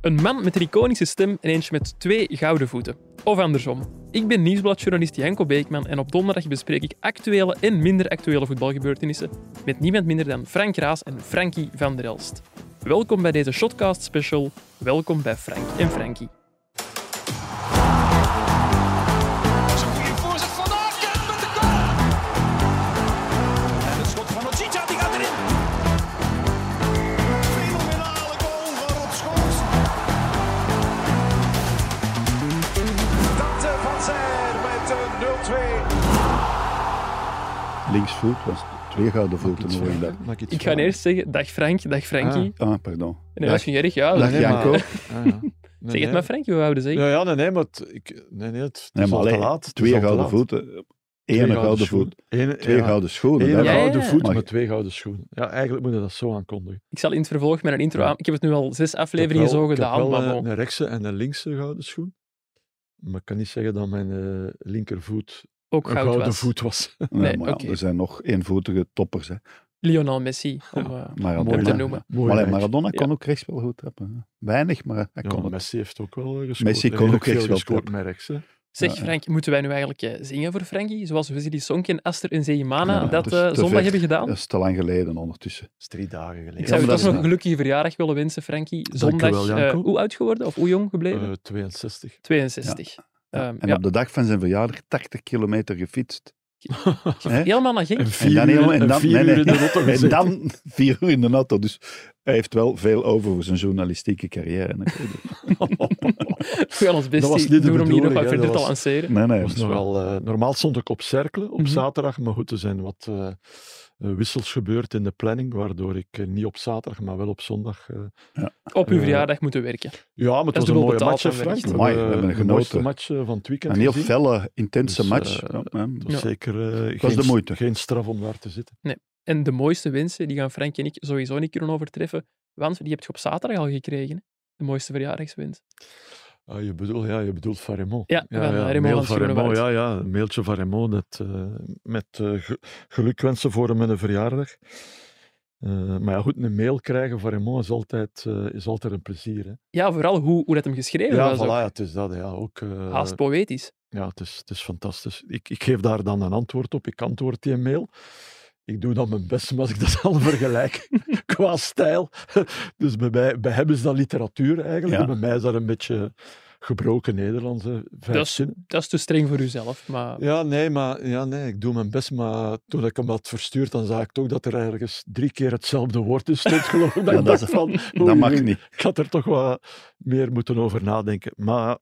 Een man met een iconische stem en eentje met twee gouden voeten. Of andersom. Ik ben nieuwsbladjournalist Janko Beekman en op donderdag bespreek ik actuele en minder actuele voetbalgebeurtenissen met niemand minder dan Frank Raas en Frankie van der Elst. Welkom bij deze Shotcast special. Welkom bij Frank en Frankie. Is een goede voorzet van Aken met de goal. En het schot van Ochita, die gaat erin. Fenomenale goal van Rob Schoors. Dante van Zijl met een 0-2. linksvoet was twee gouden voeten. hoor je dat. Mag ik iets Ik ga vragen? eerst zeggen, dag Frank, dag Frankie. Ah, pardon. en dan was je erg, ja. Dag dat- nee, Janko. maar- Ah, ja. Nee, Zeg het nee. maar Frankie, we houden zeggen. Ja, ja, nee, nee, maar het, ik, nee, nee, het, het Nee, is maar al te allee, laat. Het is Twee al te gouden laat. voeten. Twee Eén gouden schoen. voet. Eén- Twee ja. gouden schoenen. Eén dat- Ja, ja, gouden ja. voet Mag met ik- twee gouden schoenen. Ja, eigenlijk moet je dat zo aankondigen. Ik zal in het vervolg met een intro aan... Ik heb het nu al zes Ik heb afleveringen wel- zo gedaan, Ik heb wel maar eh, bon. een rechtse en een linkse gouden schoen. Maar ik kan niet zeggen dat mijn eh, linkervoet ook een goud gouden was. voet was. Ja, Nee, maar ja, oké. Er zijn nog eenvoetige toppers. Hè. Lionel Messi, om eh, Maradona. hem te ja. noemen. Mooi Maar allee, meisje. Maradona kon ook rechts wel goed trappen. hè. Weinig, maar hij Ja, kon maar het. Messi heeft ook wel eh, gescoord. Messi Hij kon heeft ook echt veel wel gescoord trappen. met rechts. hè. Zeg Ja. Frank, moeten wij nu eigenlijk eh, zingen voor Frankie? Zoals Wesley Sonk en Aster en Zeymana Ja, dat het is eh, te zondag ver. hebben gedaan? Dat is te lang geleden ondertussen. Dat is drie dagen geleden. Ik zou je maar dat toch is nog een waar. gelukkige verjaardag willen wensen, Frankie. je wel, Zondag, eh, Janko. hoe oud geworden? Of hoe jong gebleven? Eh, 62. 62. Ja. Ehm, en ja. op de dag van zijn verjaardag 80 kilometer gefietst. Hè? Helemaal naar Genk? En vier dan uur helemaal- en en dan- vier nee, nee. uur in de auto En gezeten. dan vier uur in de auto. Dus hij heeft wel veel over voor zijn journalistieke carrière. We gaan ons best Dat was doen niet de om hier nog bedoeling, wat hè, verder dat te was- lanceren. Nee, nee. was dat is waar. nogal, eh, normaal stond ik op cerkelen op Mhm. zaterdag, maar goed, er zijn wat eh, eh, wissels gebeurd in de planning, waardoor ik eh, niet op zaterdag, maar wel op zondag... eh, Op uw Eh, verjaardag moeten werken. ja, maar het is was een dubbel mooie betaald match, hè, dan Frank. wellicht. We Amai, hebben we hebben de genoten. mooiste match eh, van het weekend Een heel gezien. felle, intense Dus, match. eh, Ja, ja. Het was Ja. zeker eh, was geen, de moeite. geen straf om daar te zitten. En de mooiste wensen, die gaan Frank en ik sowieso niet kunnen overtreffen. Want die heb je op zaterdag al gekregen. hè? De mooiste verjaardagswens. Ah, je, bedoelt, ja, je bedoelt van Raymond. Ja, van, eh, een Raymond mail van van Schoenewaard. Raymond, ja, ja, een mailtje van Raymond dat, eh, met eh, ge- gelukwensen voor hem met een verjaardag. Eh, maar ja, goed, een mail krijgen van Raymond is altijd, eh, is altijd een plezier. Hè. Ja, vooral hoe, hoe dat hem geschreven Ja, was. voilà, ook. ja, het is dat. Ja, ook, eh, Haast poëtisch. ja het, is, het is fantastisch. Ik, ik geef daar dan een antwoord op. Ik antwoord die mail. Ik doe dan mijn best, maar als ik dat zal vergelijken qua stijl. Dus bij, mij, bij hem is dat literatuur eigenlijk. Ja. Bij mij is dat een beetje gebroken Nederlands. hè. Vijf Dus- Dat is- zinnen. Dat is te streng voor uzelf. Maar Ja, nee, maar ja, nee, ik doe mijn best. Maar toen ik hem had verstuurd, dan zag ik toch dat er ergens drie keer hetzelfde woord in stond, geloof ik. Dat Ja, ik dat dacht van, Dat oei, mag oei niet. ik had er toch wat meer moeten over nadenken. Maar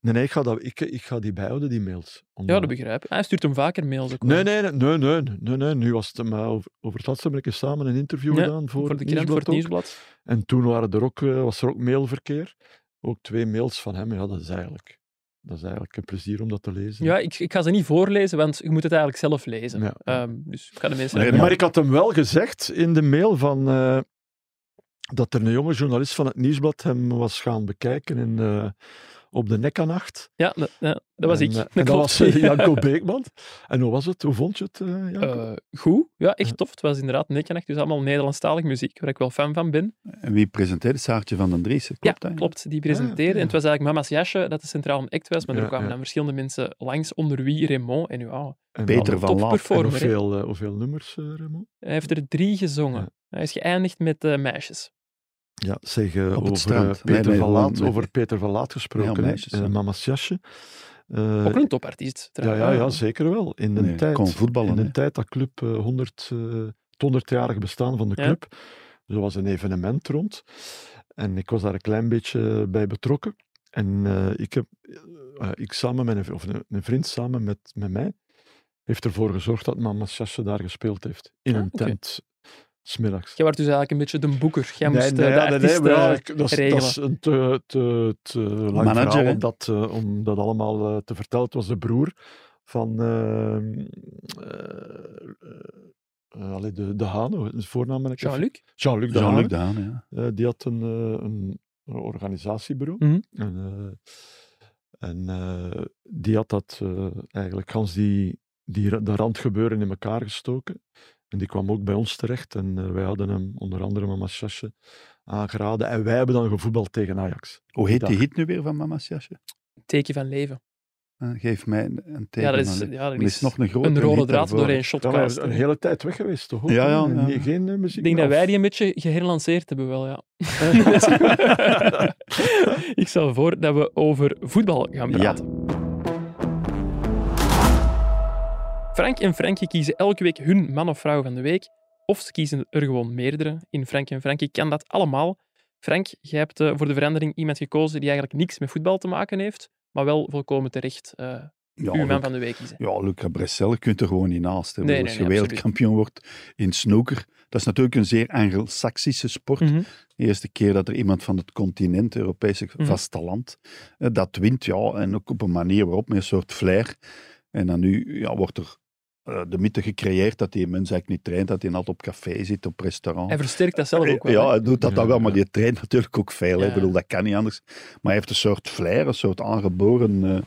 nee, nee ik, ga dat, ik, ik ga die bijhouden, die mails. ja, Omdat- dat begrijp ik. Hij stuurt hem vaker mails ook. wel. Nee, nee, nee, nee, nee, nee, nee. Nu was het, maar over, over het laatste heb ik eens samen een interview Ja, gedaan voor, Voor de krant, Nieuwsblad voor het ook. nieuwsblad. En toen waren er ook, eh, was er ook mailverkeer. Ook twee mails van hem. Ja, dat is eigenlijk, dat is eigenlijk een plezier om dat te lezen. Ja, ik, ik ga ze niet voorlezen, want je moet het eigenlijk zelf lezen. Ja. Ehm, dus ik ga de mensen... Nee, Nee, maar ik had hem wel gezegd in de mail van, eh, dat er een jonge journalist van het Nieuwsblad hem was gaan bekijken in, eh, op de Nekkanacht. Ja, dat, ja, dat was En, ik. eh, Dat En, dat klopt. was eh, Janko Beekman. En hoe was het? Hoe vond je het, eh, Janko? Eh, goed. Ja, echt tof. Het was inderdaad nekkenacht, dus allemaal Nederlandstalig muziek, waar ik wel fan van ben. En wie presenteerde Saartje van den Driessen? Klopt ja, dat? klopt. Die presenteerde. oké. En het was eigenlijk Mama's Jasje dat de centraal act was, maar er Ah, Ja, kwamen ja. dan verschillende mensen langs, onder wie Raymond. En oh, ja, En Peter alle- van Laat. en topperformer. hè. hoeveel, eh, hoeveel nummers, eh Raymond? Hij heeft er drie gezongen. Ja. Hij is geëindigd met eh, meisjes. Ja, zeg, eh, Op het over, strand. eh, Peter Nee, nee, van gewoon Laat, met- over Peter van Laat Ja, gesproken. hè. meisjes, Eh, ja. Mama's jasje. Eh, Ook wel een topartiest, ja, trouwens. ja, ja, zeker wel. In de Nee, tijd. kon voetballen, in de hè. tijd dat club eh, 100, eh, het 100-jarig bestaan van de Ja. club. Er was een evenement rond. En ik was daar een klein beetje eh, bij betrokken. En eh, ik heb, eh, ik samen met een, v- of een, een vriend samen met, met mij, heeft ervoor gezorgd dat mama Sasse daar gespeeld heeft. In Ah, een oké. tent. Smiddags. Jij werd dus eigenlijk een beetje de boeker. Jij moest eh, nee, de ja, nee, nee, artiesten... maar ja, ik- dat, is, dat regelen. is een te, te, te lang Manager, verhaal hè? om dat, eh, om dat allemaal eh, te vertellen. Het was de broer van eh, eh, eh, allee, de, de Haan, hoe- de voornaam ben ik even- Jean-Luc? Jean-Luc de Jean-Luc Haan. de Haan, ja. Eh, die had een, eh, een, een organisatiebureau. Mhm. En, eh, en eh, die had dat eh, eigenlijk gans die, die, ra- dat randgebeuren in elkaar gestoken. En die kwam ook bij ons terecht. En eh, wij hadden hem onder andere Mama Sasje aangeraden. En wij hebben dan gevoetbald tegen Ajax. Hoe heet Dag. die hit nu weer van Mama's jasje? Een teken van leven. Eh, geef mij een, een teken. Ja, dat is, maar- ja, dat er is nog een grote een rode hit draad daarvoor. doorheen Ja, maar hij is shotcast. een hele tijd weg geweest, toch? ook, Ja, hè? ja, En ja. Geen, geen, eh, muziek Ik denk meer dat wij af. die een beetje geherlanceerd hebben wel, ja. ik stel voor dat we over voetbal gaan Ja. praten. Frank en Frankie kiezen elke week hun man of vrouw van de week. Of ze kiezen er gewoon meerdere. In Frank en Frankie kan dat allemaal. Frank, jij hebt eh, voor de verandering iemand gekozen die eigenlijk niks met voetbal te maken heeft, maar wel volkomen terecht eh, uw Ja, man Luc- van de week kiezen. ja, Luca Bressel, je kunt er gewoon niet naast. Hè. Nee, Als nee, je nee, wereldkampioen wordt in snooker, dat is natuurlijk een zeer anglo-saxische sport. Mhm. De eerste keer dat er iemand van het continent, Europese Mhm. vasteland, eh, dat wint, ja, en ook op een manier waarop, met een soort flair. En dan nu ja, wordt er eh, de mythe gecreëerd dat die mens eigenlijk niet traint, dat hij altijd op café zit, op restaurant. Hij versterkt dat zelf ook wel. Eh, Ja, hè? hij doet dat dan Ja, wel, maar ja. die traint natuurlijk ook veel. hè. Ja. Ik bedoel, dat kan niet anders. Maar hij heeft een soort flair, een soort aangeboren eh,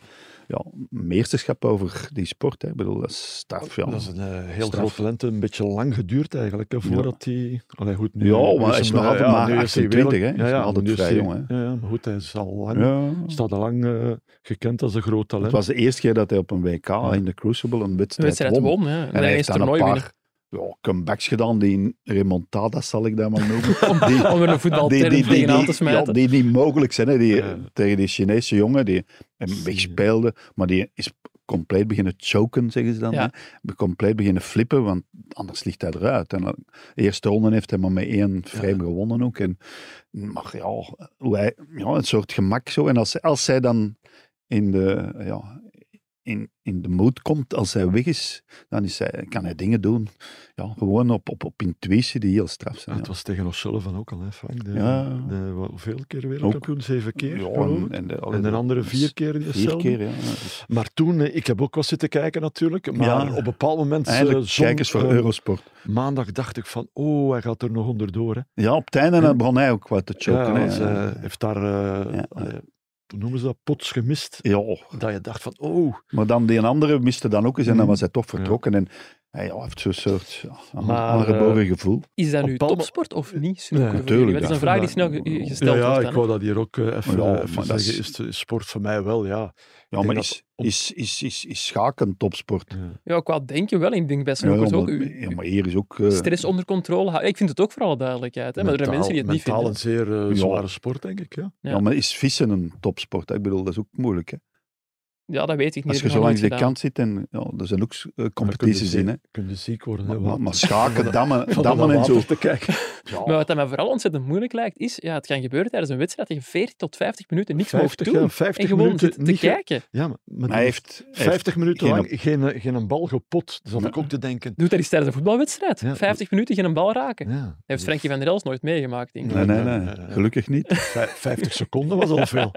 ja, meesterschap over die sport. Hè. Ik bedoel, dat is straf. Ja, Dat is een eh, heel Straf. groot talent. Een beetje lang geduurd eigenlijk, hè, voordat hij... Allee, goed, nu, Ja, maar nu hij is hem, nog eh, altijd maar nu is hij 28, wereld- hè. Hij is nog altijd nu vrij hij- jong, Ja, ja, maar goed, hij is al lang, ja. staat al lang eh, gekend als een groot Het talent. was de eerste keer dat hij op een WK in de Crucible een Een wedstrijd, wedstrijd won. won, hè. En, En hij heeft ineens dan een toernooi winnen. paar ja, comebacks gedaan, die in remontadas zal ik dat maar noemen. Die- Om er een voetbalterm tegenaan te smijten. ja, die niet mogelijk zijn. Hè. Die, eh, Ja. Tegen die Chinese jongen die hem wegspeelde, maar die is compleet beginnen choken, zeggen ze dan. Ja. Hè. Compleet beginnen flippen, want anders ligt hij eruit. En dan, de eerste ronde heeft hij maar met één frame gewonnen ook. En, maar ja, hoe hij, ja, een soort gemak zo. En als, als zij dan in de... Ja, in, in de mood komt, als hij weg is, dan is hij, kan hij dingen doen. Ja, gewoon op, op, op intuïtie die heel straf Ja, zijn. Ah, het was tegen O'Sullivan ook al, hè, Frank. De, Ja. de- wa- hoeveel keer wereldkampioen? Zeven keer, Ja, geloof ik. en, en, de, En de andere vier keer Vier diezelfde. keer, ja. Dus, Maar toen, eh, ik heb ook wat zitten kijken natuurlijk, maar Ja. op een bepaald moment... eh, Eigenlijk zong, kijkers voor eh, Eurosport. Maandag dacht ik van, oh, hij gaat er nog onderdoor. Hè. Ja, op het einde en- dan begon hij ook wat te Ja, choken. hè. want, eh, heeft daar, eh, Ja. allee, hoe noemen ze dat, pots gemist. ja, Dat je dacht van, oh, maar dan die andere miste dan ook eens Mm. en dan was hij toch vertrokken. En hij ja, heeft zo'n soort ja, een Maar, eh, aangeboren gevoel. Is dat Op nu Palma- topsport of niet? Ja, Snooker voor tuurlijk, jullie? Dat is een ja. vraag die snel ge- Ja, gesteld ja, ja, wordt. ik dan, wou dat hier ook eh, even, Ja, eh, maar even dat is- zeggen. Is, de- is sport voor mij wel, ja. Ja, denk maar dat is, om- is, is, is, is schaken topsport? hè. ja, qua denken wel. Ik denk bij Ja, snookers ook. maar, u- ja, maar hier is ook... eh, stress onder controle houden. Ik vind het ook vooral duidelijkheid. Hè? Maar er zijn mensen die het niet mentaal vinden. een zeer eh, Ja. zware sport, denk ik. Ja. ja. ja. maar is vissen een topsport? Ik bedoel, dat is ook moeilijk. Hè? Ja, dat weet ik niet. Als Ik je heb zo nog langs de nooit gedaan. kant zit, en ja, er zijn ook eh, Dan competities kun je in. Hè? ziek- kun je ziek worden. hè, Maar, wat- maar- maar schaken, dammen, van dat dammen en water zo. te kijken. Maar wat dat mij vooral ontzettend moeilijk lijkt, is ja, het kan gebeuren tijdens een wedstrijd dat je 40 tot 50 minuten niks mogen 50, doen. ja, en 50 gewoon minuten zit te niet ge- kijken. Ja, maar, maar Maar Hij die- heeft... hij 50 minuten geen- lang geen, eh, geen een bal gepot. Zat ik ook te denken. Doet dat eens tijdens een voetbalwedstrijd. Ja. 50 minuten geen bal raken. Dat Ja, Dus dat heeft is- Frankie van der Els nooit meegemaakt, denk ik. Nee, nee, Nee, nee, nee. nee, nee. Gelukkig niet. vij- 50 seconden was al veel.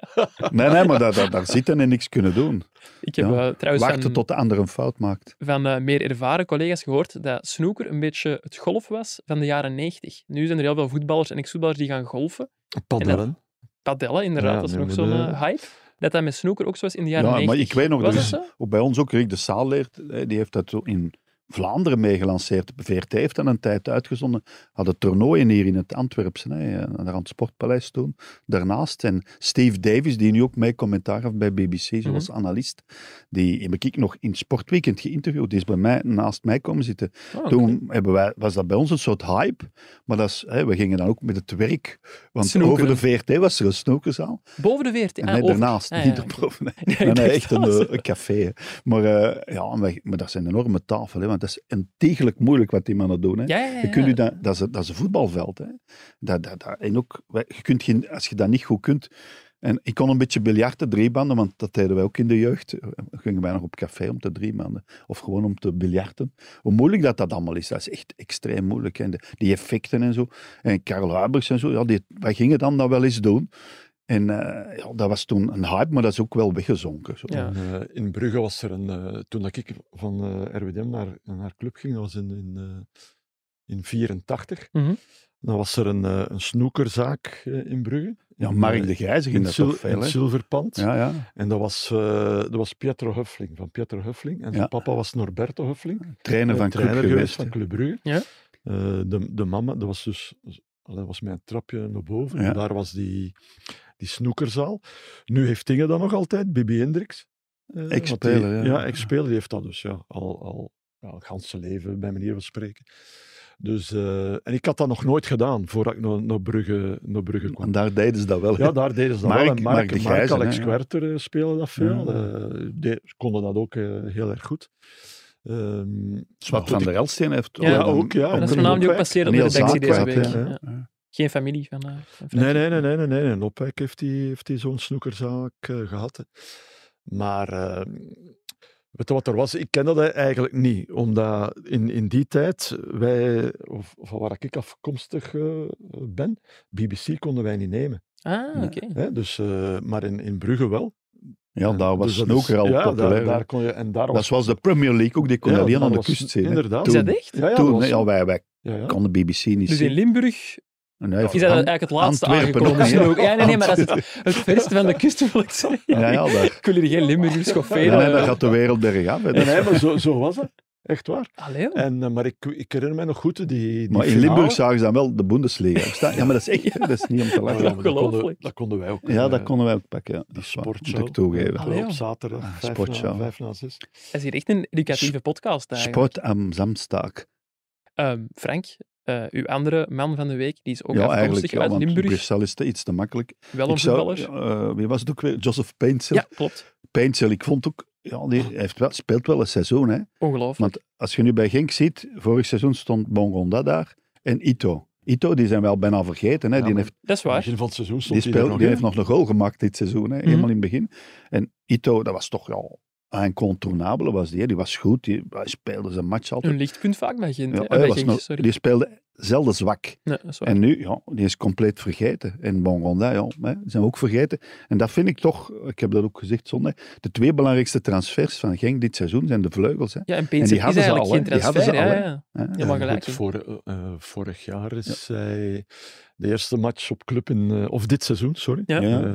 Nee, nee, maar daar, daar, daar zitten en niks kunnen doen. Ik heb Ja. eh, trouwens Wachten van, tot de ander een fout maakt. van eh, meer ervaren collega's gehoord dat snooker een beetje het golf was van de jaren 90. Nu zijn er heel veel voetballers en ex-voetballers die gaan golfen. Paddelen. Padellen, inderdaad, Ja, dat is nee, nog nee, zo'n nee. eh, hype. Dat dat met snooker ook zo was in de jaren Ja, 90. maar ik weet nog, Was er dat is- zo? ook bij ons ook Rick de Saal leert, eh, die heeft dat zo in Vlaanderen meegelanceerd. VRT heeft dat een tijd uitgezonden. Hadden toernooien hier in het Antwerpse, hè, eh, daar aan het Sportpaleis toen. Daarnaast, en Steve Davis, die nu ook mee commentaar heeft bij BBC, zoals analist, die heb ik nog in Sportweekend geïnterviewd. Die is bij mij, naast mij komen zitten. Oh, oké. Toen hebben wij, was dat bij ons een soort hype, maar dat is, hè, we gingen dan ook met het werk. Want Snoekeren. over de VRT was er een snoekerzaal. Boven de 14. En ah, nee, over. daarnaast, Ah, ja, niet oké. op boven. Nee, Nee, nee, ik dacht echt een, dat. eh, een café. hè. Maar, eh, ja, en wij- maar dat is een enorme tafel, hè, want dat is ontiegelijk moeilijk wat die mannen doen. Hè. Ja, ja, ja, Je kunt u ja. dat, dat, is, dat is een voetbalveld. Hè. Dat, dat, dat, en ook, wij- je kunt geen, als je dat niet goed kunt. En ik kon een beetje biljarten, driebanden, want dat deden wij ook in de jeugd. We gingen wij nog op café om te driebanden. Of gewoon om te biljarten. Hoe moeilijk dat dat allemaal is, dat is echt extreem moeilijk. hè. En de- die effecten en zo. En Karel Huibers en zo, ja, die, wij gingen dan dat wel eens doen. En eh, ja, dat was toen een hype, maar dat is ook wel weggezonken. Zo. Ja. En, eh, in Brugge was er een. eh, toen dat ik van eh, RWDM naar, naar club ging, dat was in, in, eh, in 84. Mhm. Dan was er een, eh, een snoekerzaak eh, in Brugge. Ja, in, Mark eh, de Grijze ging in het, dat zil- toch in veel, het hè? zilverpand. Ja, ja. En dat was, eh, dat was Pietro Huffling, van Pietro Huffling. En zijn Ja. papa was Norberto Huffling, Trainer eh, van Club trainer geweest. van hè. Club Brugge. Ja. Eh, de, de mama, dat was dus, dat was mijn trapje naar boven. Ja. En daar was die, die snoekerzaal. Nu heeft Dingen dat nog altijd, Bibi Hendricks. Eh, want die- Ex-speler, ja. Ja, ex-speler, die heeft dat dus ja, al, al ja, het ganse leven, bij manier van spreken. Dus, eh, en ik had dat nog nooit gedaan, voordat ik naar, naar, Brugge, naar Brugge kwam. En daar deden ze dat wel. hè. Ja, daar deden ze dat Mark- wel. En Mark, Mark de Mark, Grijze, Alex hè, ja. Kwerter eh, spelen dat veel. Ja. Eh, die konden dat ook eh, heel erg goed. Ehm, maar Swart goed, van ik- der Elsteen heeft... Ja, dan- ook, ja. ook dat is een een naam die ook Opwijk. passeerde op Een de heel redactie deze zaak week. kwijt, hè, Ja. Geen familie van... eh, van Nee, Frankie. nee, nee, nee, nee, nee. nee. Opwijk heeft, die, heeft die zo'n snoekerzaak eh, gehad. hè. Maar eh, weet je wat er was? Ik kende dat eigenlijk niet. Omdat in, in die tijd, wij, of, van waar ik afkomstig eh, ben, BBC konden wij niet nemen. Ah, oké. Hè? Dus, eh, maar in, in Brugge wel. Ja, daar was Dus dat is- snooker al ja, daar- populair. hè. Daar, kon je, en daar dat was de Premier League ook, die kon Ja, alleen daar aan de was- kust zien. hè. inderdaad. Is Toen, dat echt? Ja, ja, dat toen, was- hè, ja, wij, wij ja, ja. konden BBC niet Dus in zien. Limburg En hij heeft is dat aan- eigenlijk het laatste Antwerpen aangekomen ook, hè? snook. Ja, nee, nee, maar dat is het, het verste van de kust, wil ik zeggen. Ja, ja, daar, Ik wil hier geen Limburgers ja, schofferen. nee, daar gaat de wereld berg af. hè. En Dat- nee, maar zo, zo was dat. Echt waar. Allee, hoor. En, eh, maar ik, ik herinner mij nog goed die, die Maar in finale. Limburg zagen ze dan wel de Bundesliga bestaan. Ja, maar dat is echt, hè, dat is niet om te Maar Ja, ja, lachen. maar dat, konden, ongelooflijk. dat konden wij ook. Ja, eh, dat konden wij ook pakken. Ja. Die Dat is waar. sportshow. Moet ik toegeven. Allee, op joh. zaterdag, Ah, vijf, na, sportshow. vijf na zes. Dat is hier echt een educatieve podcast eigenlijk. Sport am Samstag. Ehm, Frank, eh, uw andere man van de week, die is ook ja, eigenlijk. afkomstig Ja, uit want Limburg. Brussel is te, iets te makkelijk. Wel een Ik zou- voetballer. Ja, ja, eh, wie was het ook weer? Joseph Paintsel. klopt. Paintsel, ik vond ook... Ja, Ah. die heeft wel, speelt wel een seizoen, hè. Ongelooflijk. Want als je nu bij Genk ziet, vorig seizoen stond Bongonda daar en Ito. Ito, die zijn wel bijna vergeten. Hè. Ja, die maar heeft, Dat is In het waar. begin van het seizoen die stond hij er speelt, nog die in. Mhm. heeft nog een goal gemaakt dit seizoen, hè. helemaal in het begin. En Ito, dat was toch al een contournabele was die. Hè. Die was goed, die, hij speelde zijn match altijd. Een lichtpunt vaak bij Gent. Ja, hè. hij bij was Genk, nog- sorry. die speelde zelden zwak. Nee, dat is waar. En nu, ja, die is compleet vergeten. En Bongonda, ja, hè, die zijn we ook vergeten. En dat vind ik toch, ik heb dat ook gezegd zondag, de twee belangrijkste transfers van Genk dit seizoen zijn de vleugels. Hè. ja, en en Peens die is hadden ze eigenlijk al, hè. geen Die hadden ze transfer. Ja, al, hè. ja. Hè. Ja, maar Eh, gelijk. goed, voor, eh, eh, vorig jaar is hij de eerste match op club in... eh, of dit seizoen, sorry. Ja. Ja. Eh,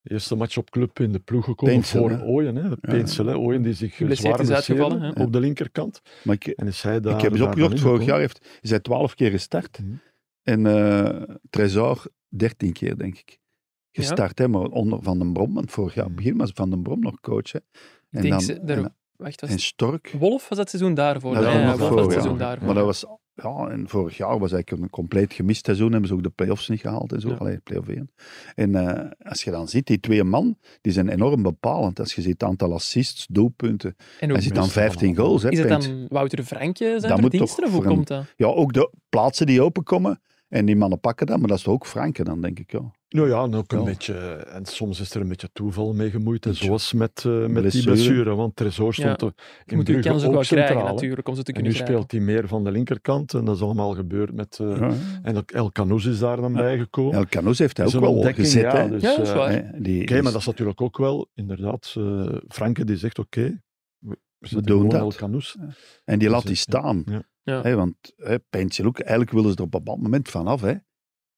de eerste match op club in de ploeg gekomen Peensel, voor hè. Ooyen. Hè. Peensel, hè. Ooyen die zich eh, Geblesseerd zwaar is uitgevallen, blesseerde hè. op de linkerkant. Maar ik, En is hij daar ik heb eens daar dan opgezocht, vorig ingekomen. jaar heeft, is hij twaalf keer gestart. Mhm. En eh Trezor dertien keer, denk ik. Ja. Gestart, hè, maar onder Van den Brom, want vorig jaar Mhm. begin was Van den Brom nog coach. Hè. Ik En, denk dan, ze... daar- en, Wacht, was en het- Stork. Wolf was dat seizoen daarvoor. Dat Ja, was ja, nog Wolf voor, was het ja. seizoen daarvoor. Maar dat was, ja, en vorig jaar was eigenlijk een compleet gemist seizoen. Hebben ze ook de play-offs niet gehaald en zo. Ja. Allee, play-off één. En eh, als je dan ziet, die twee man, die zijn enorm bepalend. Als je ziet het aantal assists, doelpunten. En Hij ook, zit dan meestal 15 allemaal. goals, hè, is het Pint. dan Wouter Frankje zijn Dat moet verdiensten? toch Of hoe voor een- komt dat? Ja, ook de plaatsen die openkomen. En die mannen pakken dat, maar dat is toch ook Franken dan, denk ik. Ja. Nou ja, en ook een Ja. beetje. En soms is er een beetje toeval mee gemoeid. En Beetje. zoals met, eh, met die Blessure. blessure. Want Tresor Ja. stond er Je in moet je Brugge kans ook ook wel centraal, krijgen hè. natuurlijk, om ze te En kunnen nu krijgen. speelt hij meer van de linkerkant. En dat is allemaal gebeurd met... eh, Ja. En ook El Canoes is daar dan Ja. bijgekomen. El Canoes heeft hij Is ook een wel ontdekking, gezet. ja, hè. dus, Ja, dat is eh, waar. Hè, die, Oké, maar dat is natuurlijk ook wel, inderdaad, eh Franke die zegt, oké, we, zetten doen gewoon dat. El Canoes. En die laat Dus, die eh, staan. ja. Ja. Hè, want hè, Pijntje ook, eigenlijk wilden ze er op een bepaald moment vanaf. Hè.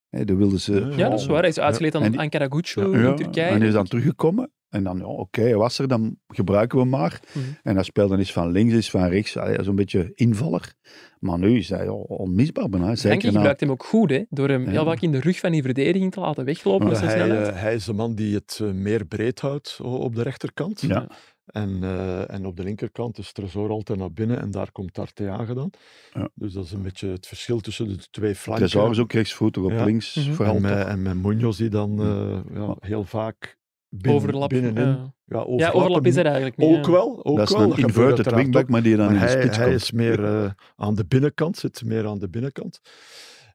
Hè, dan wilden ze... Ja, dat is waar. Hij is uitgeleid aan En die- Ankara Guccio Ja. in en hij Turkije. is dan teruggekomen. En dan, ja, oké, hij was er, dan gebruiken we hem maar. Mhm. En hij speelde eens van links, eens van rechts. Allee, Zo'n beetje invaller. Maar nu is hij ja, onmisbaar bijna. Frankie Zeker na... gebruikt hem ook goed, hè, door hem Ja. heel vaak in de rug van die verdediging te laten weglopen. Ja, met Ja, zijn hij, snelheid. eh, hij is de man die het eh, meer breed houdt o- op de rechterkant. Ja. En, eh, en op de linkerkant is Tresor altijd naar binnen en daar komt Arteaga dan. Ja. Dus dat is een beetje het verschil tussen de twee flanken. Tresor is ook rechtsvoetig op Ja. links. Mhm. Vooral en, eh, toch. met, en met Munoz die dan eh, ja, heel vaak binnen, overlap. binnenin... ja. Ja, ja, overlappen. overlap is er eigenlijk niet. Ook ja. wel, ook dat is wel. een gebeurt inverted uiteraard wingback, ook. maar die dan Maar in de hij, spits hij komt. is meer eh, aan de binnenkant, zit meer aan de binnenkant.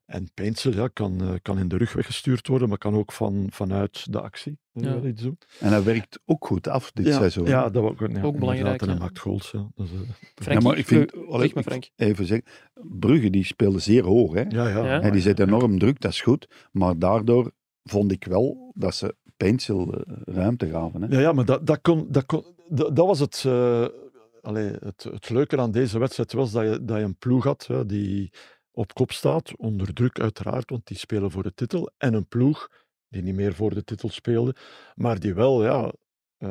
En Peensel ja, kan, eh, kan in de rug weggestuurd worden, maar kan ook van, vanuit de actie eh, Ja. wel iets doen. En hij werkt ook goed af dit ja, seizoen. Ja, dat ook, ja, inderdaad, belangrijk, En hij ja. maakt goals. Ja. Dus, eh, Frankie, Ja, maar ik vind, zeg maar, ik- Frank. even zeggen, Brugge die speelde zeer hoog. Hè? ja, ja, Ja. Hè, die zet enorm druk, dat is goed. Maar daardoor vond ik wel dat ze Pencil eh, ruimte gaven. Hè? Ja, ja maar dat, dat, kon, dat, kon, dat, dat was het, eh allee, het, het leuke aan deze wedstrijd, was dat je, dat je een ploeg had hè, die op kop staat, onder druk uiteraard, want die spelen voor de titel, en een ploeg die niet meer voor de titel speelde, maar die wel ja, eh,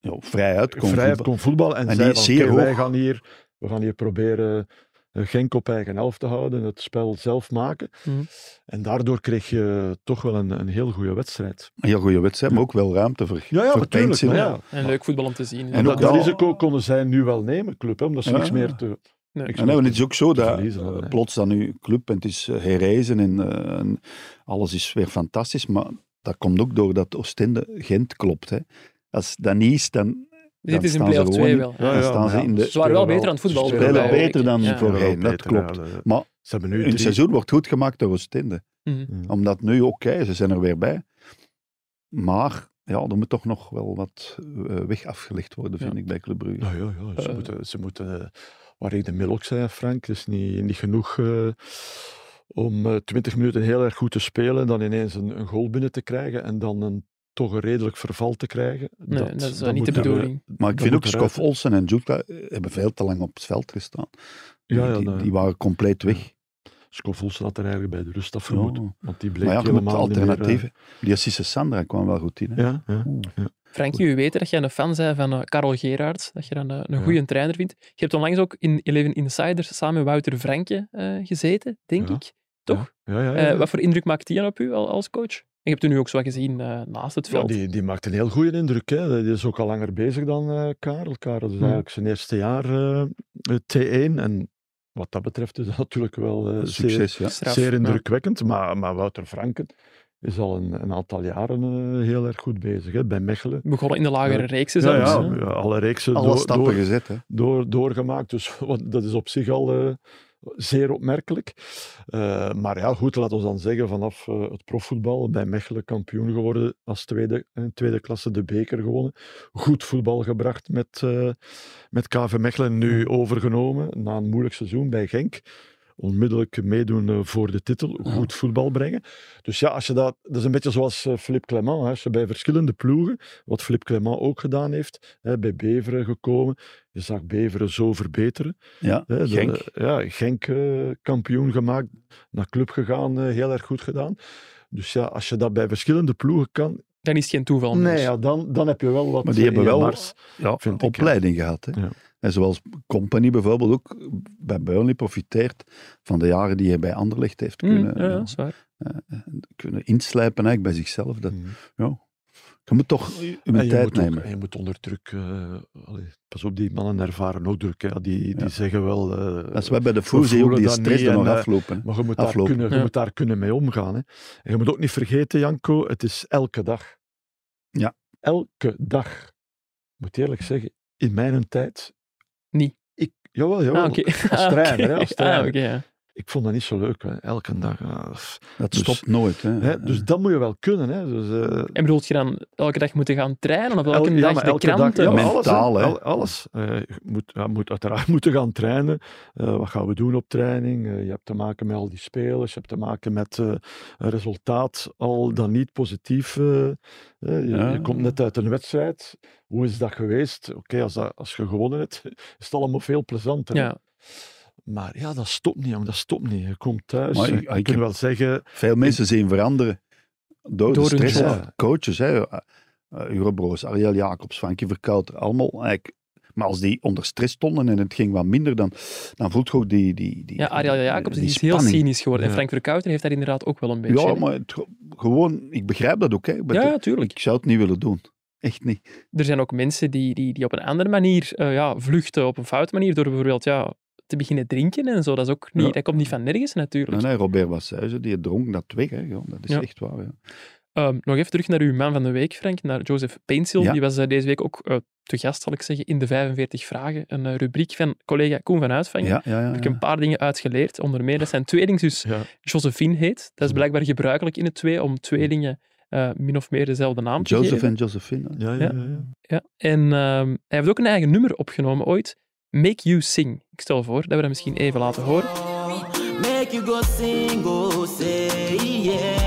Ja, vrij uit kon vrijheid voetballen. kon voetballen. En, En die zei is van, zeer "Oké, wij hoog." gaan hier, we gaan hier proberen eh, Genk op eigen helft te houden, het spel zelf maken. Mhm. En daardoor kreeg je toch wel een, een heel goede wedstrijd. Een heel goede wedstrijd, maar ook wel ruimte voor, voor natuurlijk. pijnzin. Ja, en leuk voetbal om te zien. En En ook dat, dat al- risico konden zij nu wel nemen, club, hè, omdat ze Ja. niks meer te... Nee. niks En meer nou, en te- het is ook zo te dat verliezen hadden, eh, hè. plots dan nu club en het is eh, herreizen en, eh, en alles is weer fantastisch. Maar dat komt ook doordat Oostende Gent klopt. Hè. Als dat niet is, dan Dit is in staan ze play-off gewoon 2 in. wel. dan staan maar ze in de- Ze waren wel beter aan het voetbal, ze hoor. spelen spelen wel- beter dan Ja. voorheen. Dat wel beter, klopt. ja. Maar Ze hebben nu Hun drie- seizoen wordt goed gemaakt door Oostende. Mhm. Ja. Omdat nu, oké, ze zijn er weer bij. Maar ja, er moet toch nog wel wat eh, weg afgelegd worden, vind Ja. ik, bij Club Brugge. Nou ja, ja ze, Eh. moeten, ze moeten, eh, waar ik de mail ook zei, Frank, het is niet, niet genoeg eh, om eh, 20 minuten heel erg goed te spelen, dan ineens een, een goal binnen te krijgen en dan een, toch een redelijk verval te krijgen. Nee, dat, is eh, dat niet de moet- bedoeling. Maar ik Dat vind moet ook eruit, Skof hè. Olsen en Jutka hebben veel te lang op het veld gestaan. Ja, ja, die, nou, die waren compleet weg. Schof Olsen had er eigenlijk bij de rust Ja. afgemoed, want die bleek Maar ja, je moet helemaal alternatieven. Niet eh, Die Assise Sandra kwam wel goed in. Hè? meer, eh, ja, ja. Frankie, we weten dat jij een fan bent van eh, Karel Gerards. Dat je dan eh, een Ja. goede trainer vindt. Je hebt onlangs ook in Eleven Insiders samen met Wouter Vrenke eh, gezeten, denk Ja. ik. Toch? Ja, ja, ja, Eh, ja. wat voor indruk maakt die dan op u al- als coach? En je hebt hem nu ook zo wat gezien eh, naast het Ja, veld. die, die maakt een heel goede indruk. Hè. Die is ook al langer bezig dan eh, Karel. Karel is Hmm. eigenlijk zijn eerste jaar eh, T1. En wat dat betreft is dat natuurlijk wel eh, zeer, Succes, ja. Straf. zeer Ja. indrukwekkend. Maar, maar Wouter Franken is al een, een aantal jaren eh, heel erg goed bezig hè, bij Mechelen. Begonnen in de lagere reeksen Ja, zelfs. ja, hè. ja, alle reeksen Alle door- stappen door- gezet. Hè. door, doorgemaakt. Dus wat, dat is op zich al eh, zeer opmerkelijk. Eh, maar ja, goed, laten we dan zeggen, vanaf eh, het profvoetbal bij Mechelen kampioen geworden als tweede, in tweede klasse de beker gewonnen. Goed voetbal gebracht met, eh, met KV Mechelen, nu overgenomen na een moeilijk seizoen bij Genk. Onmiddellijk meedoen eh, voor de titel, Ja. goed voetbal brengen. Dus ja, als je dat, dat is een beetje zoals eh, Philippe Clement. Hè. Als je bij verschillende ploegen, wat Philippe Clement ook gedaan heeft, hè, bij Beveren gekomen, je zag Beveren zo verbeteren. Ja, Hè, de- Genk. ja, Genk eh, kampioen gemaakt, naar club gegaan, eh, heel erg goed gedaan. Dus ja, als je dat bij verschillende ploegen kan, Dan is het geen toeval. nee, dus. ja, dan, dan heb je wel wat Maar die eh, hebben in je wel mars. ja, vind ik, ja. opleiding gehad. Hè. Ja. En zoals Company bijvoorbeeld ook bij Burnley profiteert van de jaren die hij bij Anderlecht heeft Mm, kunnen, eh, ja, ja, dat is waar. kunnen inslijpen eigenlijk bij zichzelf. Dat, Mm. je moet toch je En je tijd moet ook- nemen. en je moet onder druk. eh, allee, pas op, die mannen ervaren ook druk. Hè. Die, die Ja. zeggen wel. eh, Dat is wel bij de Fuzzy ook voelen die dat stress niet er nog en, eh, aflopen. hè. Maar je moet, daar Aflopen. kunnen, je Ja. moet daar kunnen mee omgaan. Hè. En je moet ook niet vergeten, Janko, het is elke dag. Ja. Elke dag. Ik moet eerlijk zeggen, in mijn tijd... Niet. Ik, jawel, jawel. Ah, oké. Als trainer, hè, als Ah, trainer. oké, ja. Ik vond dat niet zo leuk. Hè. Elke dag. ah, pff. Dat dus- stopt nooit. Hè. Hè, dus dat moet je wel kunnen. Hè. Dus, eh, En bedoelt je dan elke dag moeten gaan trainen? Of elke El- ja, dag maar de elke dag- kranten? ja, maar Mentaal, alles, hè. El- alles. Eh, je moet, ja, moet uiteraard moeten gaan trainen. Eh, wat gaan we doen op training? Eh, je hebt te maken met al die spelers. Je hebt te maken met eh, een resultaat al dan niet positief. eh, eh, je, Ja. je komt net uit een wedstrijd. Hoe is dat geweest? Oké, als, dat- als je gewonnen hebt, is het allemaal veel plezanter. hè. Ja. Maar ja, dat stopt niet, jong, dat stopt niet. Je komt thuis. Maar je ik- ik kunt heb- wel zeggen, Veel mensen zien veranderen door, Door de hun stress. job. hè. Coaches, hè. Eh, Eurobroos, Ariel Jacobs, Frankie Verkouter, allemaal eigenlijk. Maar als die onder stress stonden en het ging wat minder, dan, dan voelt je ook die... die, die Ja, Ariel Jacobs die is heel spanning. cynisch geworden. En Ja. Frank Verkouter heeft daar inderdaad ook wel een beetje. Ja, hè. maar het ge- gewoon, ik begrijp dat ook. Hè. Ik ben ja, toch- tuurlijk. ik zou het niet willen doen. Echt niet. Er zijn ook mensen die, die, die op een andere manier eh, ja, vluchten, op een foute manier, door bijvoorbeeld ja, te beginnen drinken en zo. Dat, is ook niet, Ja. dat komt niet van nergens natuurlijk. Nee, nee, Robert Wasseuizen, die dronk dat weg. Hè, gewoon. Dat is Ja. echt waar. Ja. Ehm, nog even terug naar uw man van de week, Frank, naar Joseph Painsel. Ja. Die was eh, deze week ook eh, te gast, zal ik zeggen, in de 45 vragen. Een eh, rubriek van collega Koen van Uitvangen. Ja, ja, ja, Daar heb ik ja. een paar dingen uitgeleerd. Onder meer dat zijn tweelingzus ja, Josephine heet. Dat is blijkbaar gebruikelijk in het twee om tweelingen eh, min of meer dezelfde naam te Joseph geven. en Josephine. hè. ja, ja, Ja. ja, ja. Ja, en ehm, hij heeft ook een eigen nummer opgenomen ooit. Make You Sing. Ik stel voor dat we dat misschien even laten horen. Make you go sing, go say, yeah.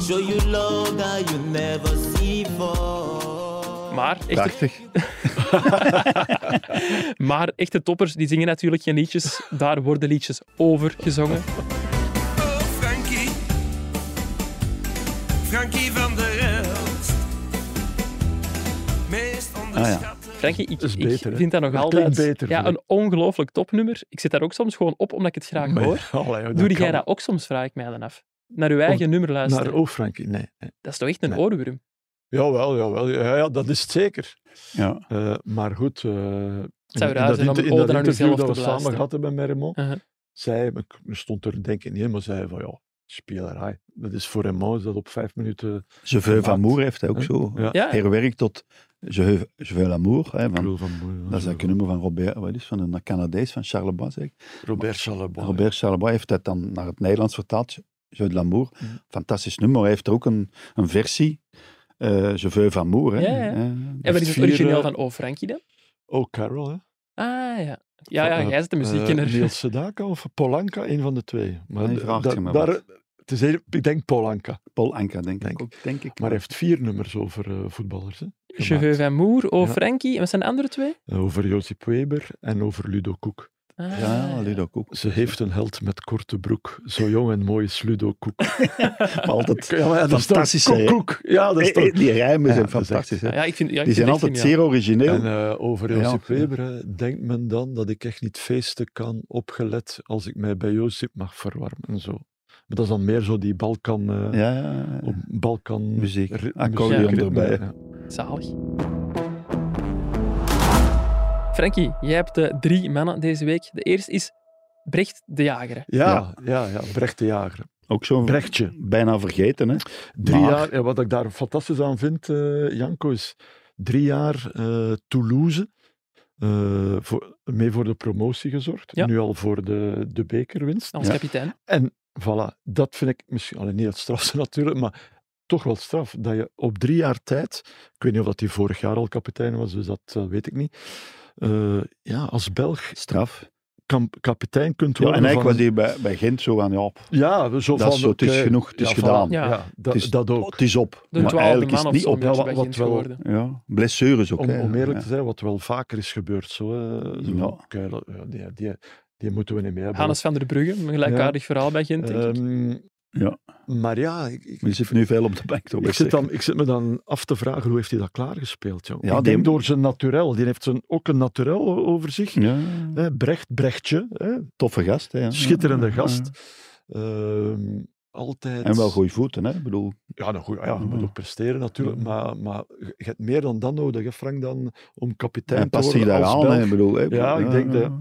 Show you love that you never see before. Maar echte, Prachtig. maar echte toppers die zingen natuurlijk geen liedjes. Daar worden liedjes over gezongen. Oh, Frankie. Frankie van der Elst. Meest onderschatte. Frankie, ik, Dat is ik beter, hè? vind dat nog Dat altijd klinkt beter, ja, vind een ongelooflijk topnummer. Ik zit daar ook soms gewoon op omdat ik het graag hoor. Allee, dat Doe jij kan. dat ook soms, vraag ik mij dan af. Naar uw eigen nummer luisteren. Naar oh, Frankie, nee. nee. dat is toch echt een Nee. oorworm? Jawel, jawel. Ja, ja, dat is het zeker. Ja. Eh, maar goed... eh Het zou in- raar in zijn om inter- een in ode aan interview uzelf dat te we samen beluisteren. gehad hebben met Raymond, Uh-huh. zei, maar ik stond er denk ik niet in, maar zei van ja, spelerij. Dat is voor Raymond is dat op vijf minuten... Je veux Gemaakt. l'amour heeft hij ook zo Ja. Ja, herwerkt tot Je veux, je veux l'amour. Hè, Ik van, bedoel, van, Boer, dat is dat nummer van Robert, wat is, van een Canadees, van Charlebois. Zeg. ik. Robert Chalabon. Robert Charlebois heeft dat dan naar het Nederlands vertaald. Je veux l'amour. Mhm. Mm. Fantastisch nummer. Hij heeft er ook een, een versie. eh je veux l'amour. Hè. Ja, ja. Eh, En wat is heeft het vier, origineel eh, van Oh Frankie dan? Oh, Carol, hè? Ah ja. Ja, Van, ja eh, jij zit de muziek eh, in. Niels Sedaka of Polanka, een van de twee. Maar Nee, d- vraagt da- je maar daar, wat. het is heel- ik denk Polanka. Paul Anka, denk, Denk ik ook. Denk ik. Maar hij heeft vier nummers over eh, voetballers. Hè? Je veux van Moer, Oh Ja. Frankie. En wat zijn de andere twee? Eh, over Josip Weber en over Ludo Koek. Ah, Ja, Ludo Koek. Ze heeft een held met korte broek. Zo jong en mooi is Ludo Koek. Maar altijd Ja, maar ja, dat is toch- fantastisch. Koek, koek. Ja, dat is Eh, toch... eh, Die rijmen Ja, zijn dat is echt- fantastisch. hè. Ja, ik vind, ja, ik Die vind het zijn echt altijd geniaal. zeer origineel. En eh, over Ja. Josip Weber hè, denkt men dan dat ik echt niet feesten kan, opgelet, als ik mij bij Josip mag verwarmen en zo. Maar dat is dan meer zo die Balkan... eh, Ja, ja, ja. Op Balkan... Muziek. ri- Accordeon muziekritme, erbij. ja. Zalig. Frankie, jij hebt eh, drie mannen deze week. De eerste is Brecht de Jager. hè. Ja, ja, ja, Brecht de Jager. Ook zo'n Brechtje. bijna vergeten. Hè? Drie Maar- jaar, ja, wat ik daar fantastisch aan vind, eh, Janko, is drie jaar eh, Toulouse. eh, voor, mee voor de promotie gezorgd. Ja. Nu al voor de, de bekerwinst. Als Ja. kapitein. En voilà, dat vind ik misschien, alleen niet het strafste natuurlijk, maar toch wel straf. Dat je op drie jaar tijd, ik weet niet of dat hij vorig jaar al kapitein was, dus dat eh, weet ik niet. eh, ja, als Belg Straf. kam- kapitein kunt Ja, en worden. eigenlijk van- was hij bij, bij Gent zo aan, ja, pff, Ja, zo Dat van, is zo, het is oké, genoeg, het is ja, gedaan. voilà, Ja. Ja, dat, is- dat ook. het is op. De maar twaalfde eigenlijk is man het of niet zo een op. beetje Ja, bij wat Gent wel- geworden. Ja, blessures ook. Om, hè. om eerlijk Ja. te zijn, wat wel vaker is gebeurd. Zo, eh, zo, Ja. oké, ja, die, die, die moeten we niet meer hebben. Hannes van der Brugge, een gelijkaardig verhaal bij Gent. denk ik. Ehm, Ja. Maar ja, ik, ik, Maar je zit nu veel op de bank. toch? Ik zit, dan, ik zit me dan af te vragen hoe heeft hij dat klaargespeeld, jong? Ja, ik die- denk door zijn naturel. Die heeft zijn, ook een naturel o- over zich. Ja, Hè, Brecht, Brechtje, hè? toffe gast. Hè, ja. Eh, schitterende Ja, ja, gast. ja. Ehm, altijd. En wel goede voeten. Hè? Ik bedoel, Ja, nou goed, ja, je moet Ja. ook presteren natuurlijk, maar, maar je hebt meer dan dat nodig, hè, Frank, dan om kapitein hij te past zich worden daar als aan. hè. Belg. Ik bedoel, hè. Ja, ik denk ja. dat-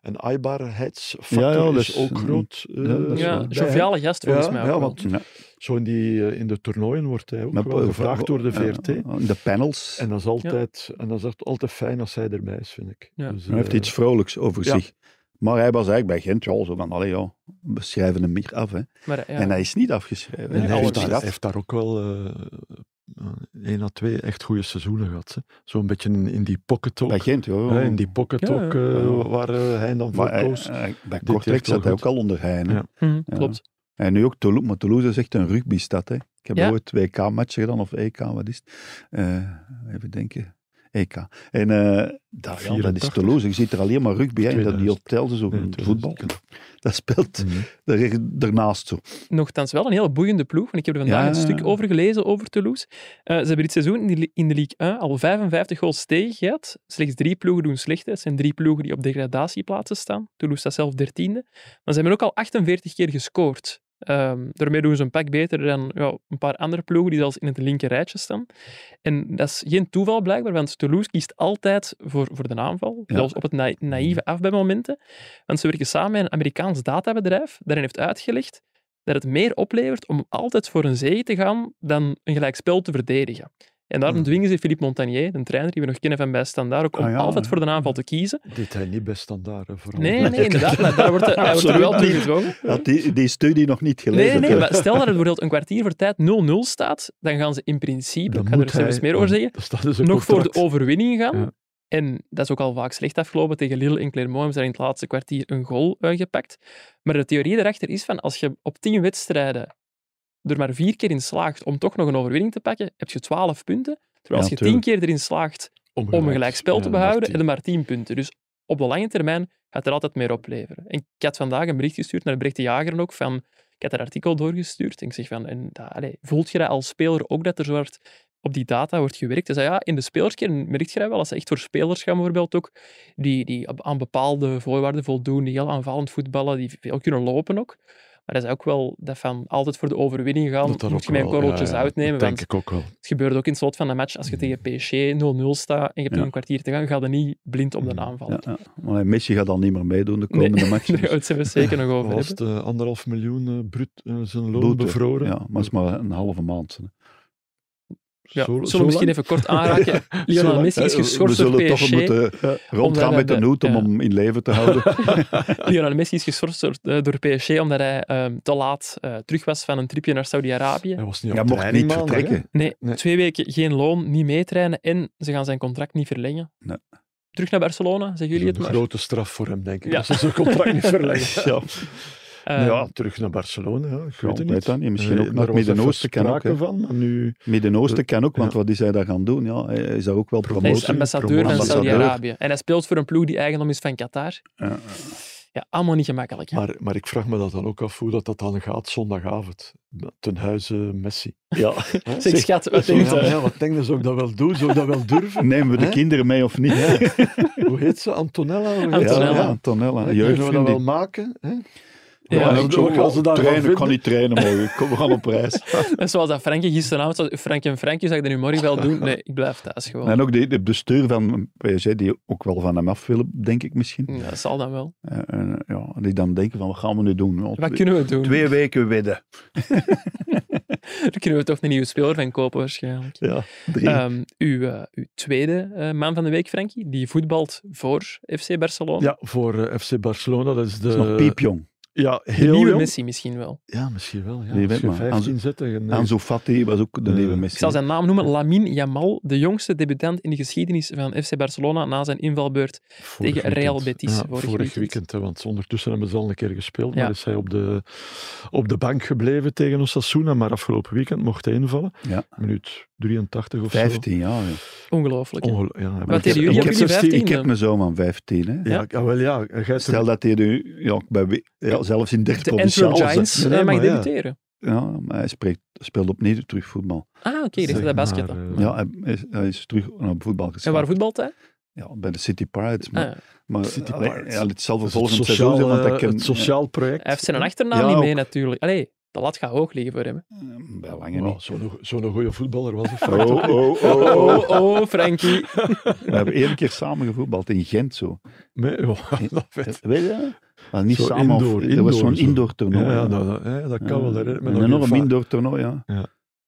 En aaibaarheidsfactor Ja, ja, dat is is- ook groot. ja, dat is eh, wel- ja, bij joviale gast volgens Ja, mij ook ja, wel. want- Ja. hem. Zo in, die, eh, in de toernooien wordt hij ook Maar- eh, wel gevraagd door de VRT. Ja, eh, De panels. En dat is altijd, en dat is echt altijd fijn als zij erbij is, vind ik. Ja. Dus, Hij heeft eh, iets vrolijks over ja. zich. Maar hij was eigenlijk bij Gent, ja, zo van, allee, ja, we schrijven hem hier af. Hè. Maar, eh, ja. En hij is niet afgeschreven. Nee, En hij hij heeft, heeft alles daar, zich af. hij heeft daar ook wel eh, eh, één à twee echt goede seizoenen gehad. hè. Zo'n beetje in, in die pocket ook. Bij Gent, ja. hè, in die pocket Ja, ook, ja. eh, waar eh, hij dan voor Maar hij- koos. hij- bij wel Kortrijk zat hij goed. ook al onder Heijn. hè. Ja. Mhm, Ja. Klopt. En nu ook Toulouse, maar Toulouse is echt een rugbystad. Hè. Ik heb Ja. ooit twee K-matchen gedaan, of EK, wat is het? Eh, even denken. EK. En eh daar, ja, dat is 84. Toulouse. Je ziet er alleen maar rugby. Hè. Dat die 2000. optelden zo Nee, in het 2000. voetbal. Dat speelt Mhm. er, ernaast zo. Nochtans wel een heel boeiende ploeg, want ik heb er vandaag Ja. een stuk over gelezen over Toulouse. Eh, ze hebben dit seizoen in de, li- in de League 1 al 55 goals tegen gehad. Slechts drie ploegen doen slecht. hè. Het zijn drie ploegen die op degradatieplaatsen staan. Toulouse staat zelf dertiende. Maar ze hebben ook al 48 keer gescoord. Ehm, daarmee doen ze een pak beter dan ja, een paar andere ploegen die zelfs in het linker rijtje staan. En dat is geen toeval blijkbaar, want Toulouse kiest altijd voor, voor de aanval. Ja. Zelfs op het na- naïeve af bij momenten. Want ze werken samen met een Amerikaans databedrijf. Daarin heeft uitgelegd dat het meer oplevert om altijd voor een zege te gaan dan een gelijkspel te verdedigen. En daarom Hmm. dwingen ze Philippe Montagnier, de trainer die we nog kennen van bij Standaard, ook om Ah, ja. altijd voor de aanval te kiezen. Dit hij niet bij standaard, hè, eh, vooral. Nee, nee, inderdaad. Maar daar wordt, hij wordt er wel toe Absoluut. gedwongen. Had die, die studie nog niet Nee, gelezen. nee, maar stel dat het bijvoorbeeld een kwartier voor tijd 0-0 staat, dan gaan ze in principe, Dan ik ga er moet hij- zelfs meer over zeggen, Dat staat dus een nog voor de contract. overwinning gaan. Ja. En dat is ook al vaak slecht afgelopen. Tegen Lille en Clermont hebben ze daar in het laatste kwartier een goal eh, gepakt. Maar de theorie erachter is van, als je op tien wedstrijden er maar vier keer in slaagt om toch nog een overwinning te pakken, heb je twaalf punten. Terwijl Ja, als je tien tuurlijk. keer erin slaagt om een gelijk spel te behouden, en dan maar 10 punten. Dus op de lange termijn gaat er altijd meer opleveren. En ik had vandaag een bericht gestuurd naar Brecht de Jager ook van Ik had dat artikel doorgestuurd en ik zeg van, en, dat- allee, voelt je dat als speler ook dat er zo hard op die data wordt gewerkt? Hij zei, ja, in de spelerskern merk je dat wel. Als ze echt voor spelers gaan bijvoorbeeld ook, die, die op- aan bepaalde voorwaarden voldoen, die heel aanvallend voetballen, die veel kunnen lopen ook. Maar dat is ook wel dat van altijd voor de overwinning gaan, dat moet ook je mijn wel- korreltjes ja, ja, uitnemen. Dat want- denk ik ook wel. het gebeurde ook in het slot van de match. Als je tegen PSG 0-0 staat en je hebt nog Mm. Ja. Mm. een kwartier te gaan, ga je niet blind op de aanval. Ja, ja. Maar Messi gaat al niet meer meedoen de komende Nee. match. Daar dus- gaan we het zelfs zeker nog over Was het hebben. eh, anderhalf miljoen eh, bruut eh, zijn loon Bloed, hè. bevroren? Ja, maar het is maar een halve maand. hè. Ja, Zo- zullen zo we misschien lang? even kort aanraken. Lionel lang. Messi is Eh, we- geschorst We door zullen toch PSG. moeten eh, rondgaan hij met een de- hoed om ja. hem in leven te houden. Lionel Messi is geschorst door, eh, door PSG omdat hij ehm, te laat eh, terug was van een tripje naar Saudi-Arabië. Hij was niet op Hij mocht training niet maandag, hè? vertrekken. Nee, Nee. twee weken geen loon, niet meetrainen en ze gaan zijn contract niet verlengen. Nee. Terug naar Barcelona, zeggen jullie Dat het is een maar. grote straf voor hem, denk ik. Ja. Als ze zijn contract niet verlengen. ja. Ehm, ja, terug naar Barcelona. Ja, ik Ja, weet het weet niet. dat niet. Misschien Eh, ook naar daar het was even Midden-Oosten, kan ook, sprake hè. van, maar nu... Midden-Oosten kan ook, want Ja. wat is hij daar gaan doen? Ja, hij is daar ook wel Promotie. Hij promotie. is ambassadeur van promotie. Saudi-Arabië. En hij speelt voor een ploeg die eigendom is van Qatar. Ja, ja. Ja, allemaal niet gemakkelijk. Hè? Maar, maar ik vraag me dat dan ook af hoe dat, dat dan gaat zondagavond. Ten huize Messi. Ja. Hè? Zeg, schat, wat Zo, denkt ja, u? ja, wat denk je? Zou ik dat wel doen? Zou ik dat wel durven? Nemen we de Hè? kinderen mee of niet? Ja. Hoe heet ze? Antonella? Hoe heet ze? Antonella. Ja, Ja. Antonella. Hè, Kunnen we dat wel Jeugdvriendin. maken? Hè? Ja, Ja, dat en hoe gaan ze daar trainen, ik kan niet trainen morgen. Kom, we gaan op reis. En Zoals dat Frankie gisteravond, zo- Frank en Frankie, zou ik dat nu morgen wel doen? Nee, ik blijf thuis gewoon. En ook de, de bestuur van PSG, die ook wel van hem af willen, denk ik misschien. Ja, dat zal dan wel. Eh, eh, ja, die dan denken van, wat gaan we nu doen? Ja, Wat twee- kunnen we doen? Twee weken wedden. Daar kunnen we toch een nieuwe speler van kopen waarschijnlijk. Ja, drie. Ehm, uw, eh, uw tweede eh, man van de week, Frankie, die voetbalt voor FC Barcelona. Ja, voor eh, FC Barcelona. Dat is de... dat is nog piepjong. Ja, de heel nieuwe jong. Messi misschien wel. Ja, misschien wel. Ja. Wie weet Als je maar. 15 Ansu- zetten. en, eh, Ansu Fati was ook de Eh, nieuwe Ik Messi. zal zijn naam noemen, Lamine Yamal, de jongste debutant in de geschiedenis van FC Barcelona na zijn invalbeurt. vorig tegen Real weekend. Betis, Ja, vorig vorig, weekend. weekend. hè, want ondertussen hebben ze al een keer gespeeld. Ja. Maar is hij op de, op de bank gebleven tegen Osasuna. Maar afgelopen weekend mocht hij invallen. Ja. Minuut 83 of 15 jaar. ja. Ongelooflijk. zo. hè? Ongel- ja, hij Wat moet- deden jullie? hij moet Hebben jullie 16 Ik 15? heb mijn zoon van 15. Hè. Ja, ja, wel ja. Gij is er- Stel dat hij nu ja, bij, wie- ja, zelfs in derde De Antwerp provinciaal Giants nee, eh, mag maar ja. debuteren. Ja, maar hij spreekt, speelt opnieuw terug voetbal. Ah, oké, ik dacht zeg dat dat basket maar, was. eh, Ja, hij is, hij is terug naar voetbal En geschakeld. waar voetbalt hij? Ja, bij de City Pirates. Ah, Maar, ja. maar City allee, Pirates. Ja, het zal het volgend sociaal, seizoen zijn, want eh, hij kan... het sociaal project. Hij heeft zijn achternaam Ja, niet mee ook. natuurlijk. Allee, de lat gaat hoog liggen voor hem. hè. eh, Bij lange Wow, niet. Zo'n zo'n goede voetballer was hij. Oh, Frank. oh, oh, Oh, oh. oh, oh, Frankie. We hebben één keer samen gevoetbald in Gent zo. Nee, ja, dat weet Weet je? Maar niet Zo samen. of- indoor, dat was zo'n indoor zo. indoor toernooi. Ja, ja, dat, dat- ja, dat kan wel. herinner ik me Een nog heel enorm vaak. indoor toernooi, ja. Ja.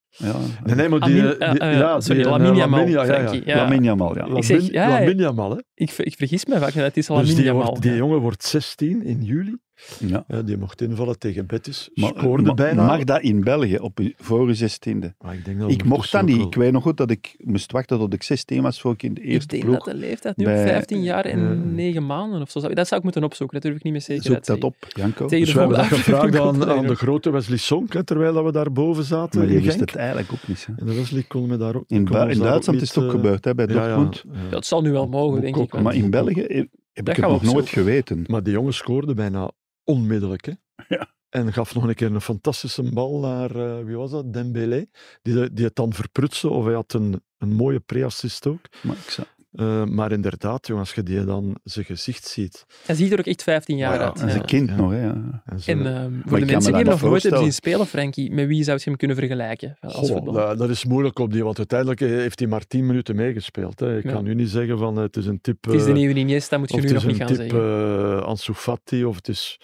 ja. Nee, nee, maar die... Amin- die- eh, eh, ja, sorry, die- Lamine eh, Yamal, Lamine, ja, ja, Frankie, ja. ja. Lamin Jamal, ja. Ik zeg, Lamin- ja, ja. Lamine Yamal, hè. Ik, ver- ik vergis me vaak, dat het is al Dus een die, minimaal. wordt, die jongen wordt 16 in juli. ja. Ja, die mocht invallen tegen Betis. Maar- eh, scoorde ma- bijna. Mag dat in België op, uw- voor uw zestiende? Maar ik, denk dat Ik mocht dat ondertussen niet. ook Ik wel- weet nog goed dat ik moest wachten tot ik 16 was voor ik in de Ik eerste denk ploeg. dat de leeftijd nu op bij- 15 jaar en eh, 9 maanden of zo. zou- Dat zou ik moeten opzoeken, dat durf ik niet met zekerheid Zoek te dat zeggen. op, Janko. Tegen de Dus we hebben dat volgende gevraagd aflevering aan, aan de komt grote Wesley Sonk, hè, terwijl dat we daarboven zaten Maar die in wist Genk. het eigenlijk ook niet. hè. En de Wesley kon me daar ook In, kon Bui- ons in daar Duitsland niet, is het ook eh, gebeurd, hè, bij ja, ja, Dortmund. ja. Dat zal nu wel mogen, denk ik. Boekhoek, want- Maar in België eh, heb gaan ik het we nog nooit opzoeken. geweten. Maar die jongen scoorde bijna onmiddellijk. Hè? Ja. En gaf nog een keer een fantastische bal naar, eh, wie was dat, Dembélé. Die, eh, die het dan verprutste, of hij had een, een mooie pre-assist ook. Maar ik zou- Eh, maar inderdaad, jongen, als je die dan zijn gezicht ziet. Hij ziet er ook echt 15 jaar Maar ja, uit. Dat is ja. een kind Ja. nog, hè. ja. En zo, En ehm, voor kan de me mensen dat die hem niet nog nooit hebben voorstellen. zien spelen, Frankie, met wie zou je hem kunnen vergelijken? eh, Als Goh, voetballer? dat, dat is moeilijk op die, want uiteindelijk eh, heeft hij maar 10 minuten meegespeeld. Hè. Ik Ja. kan nu niet zeggen van eh, het is een tip. het is de eh, nieuwe Iniesta, moet je of nu het nog is niet een gaan tip zeggen. eh Ansu Fati, of het is.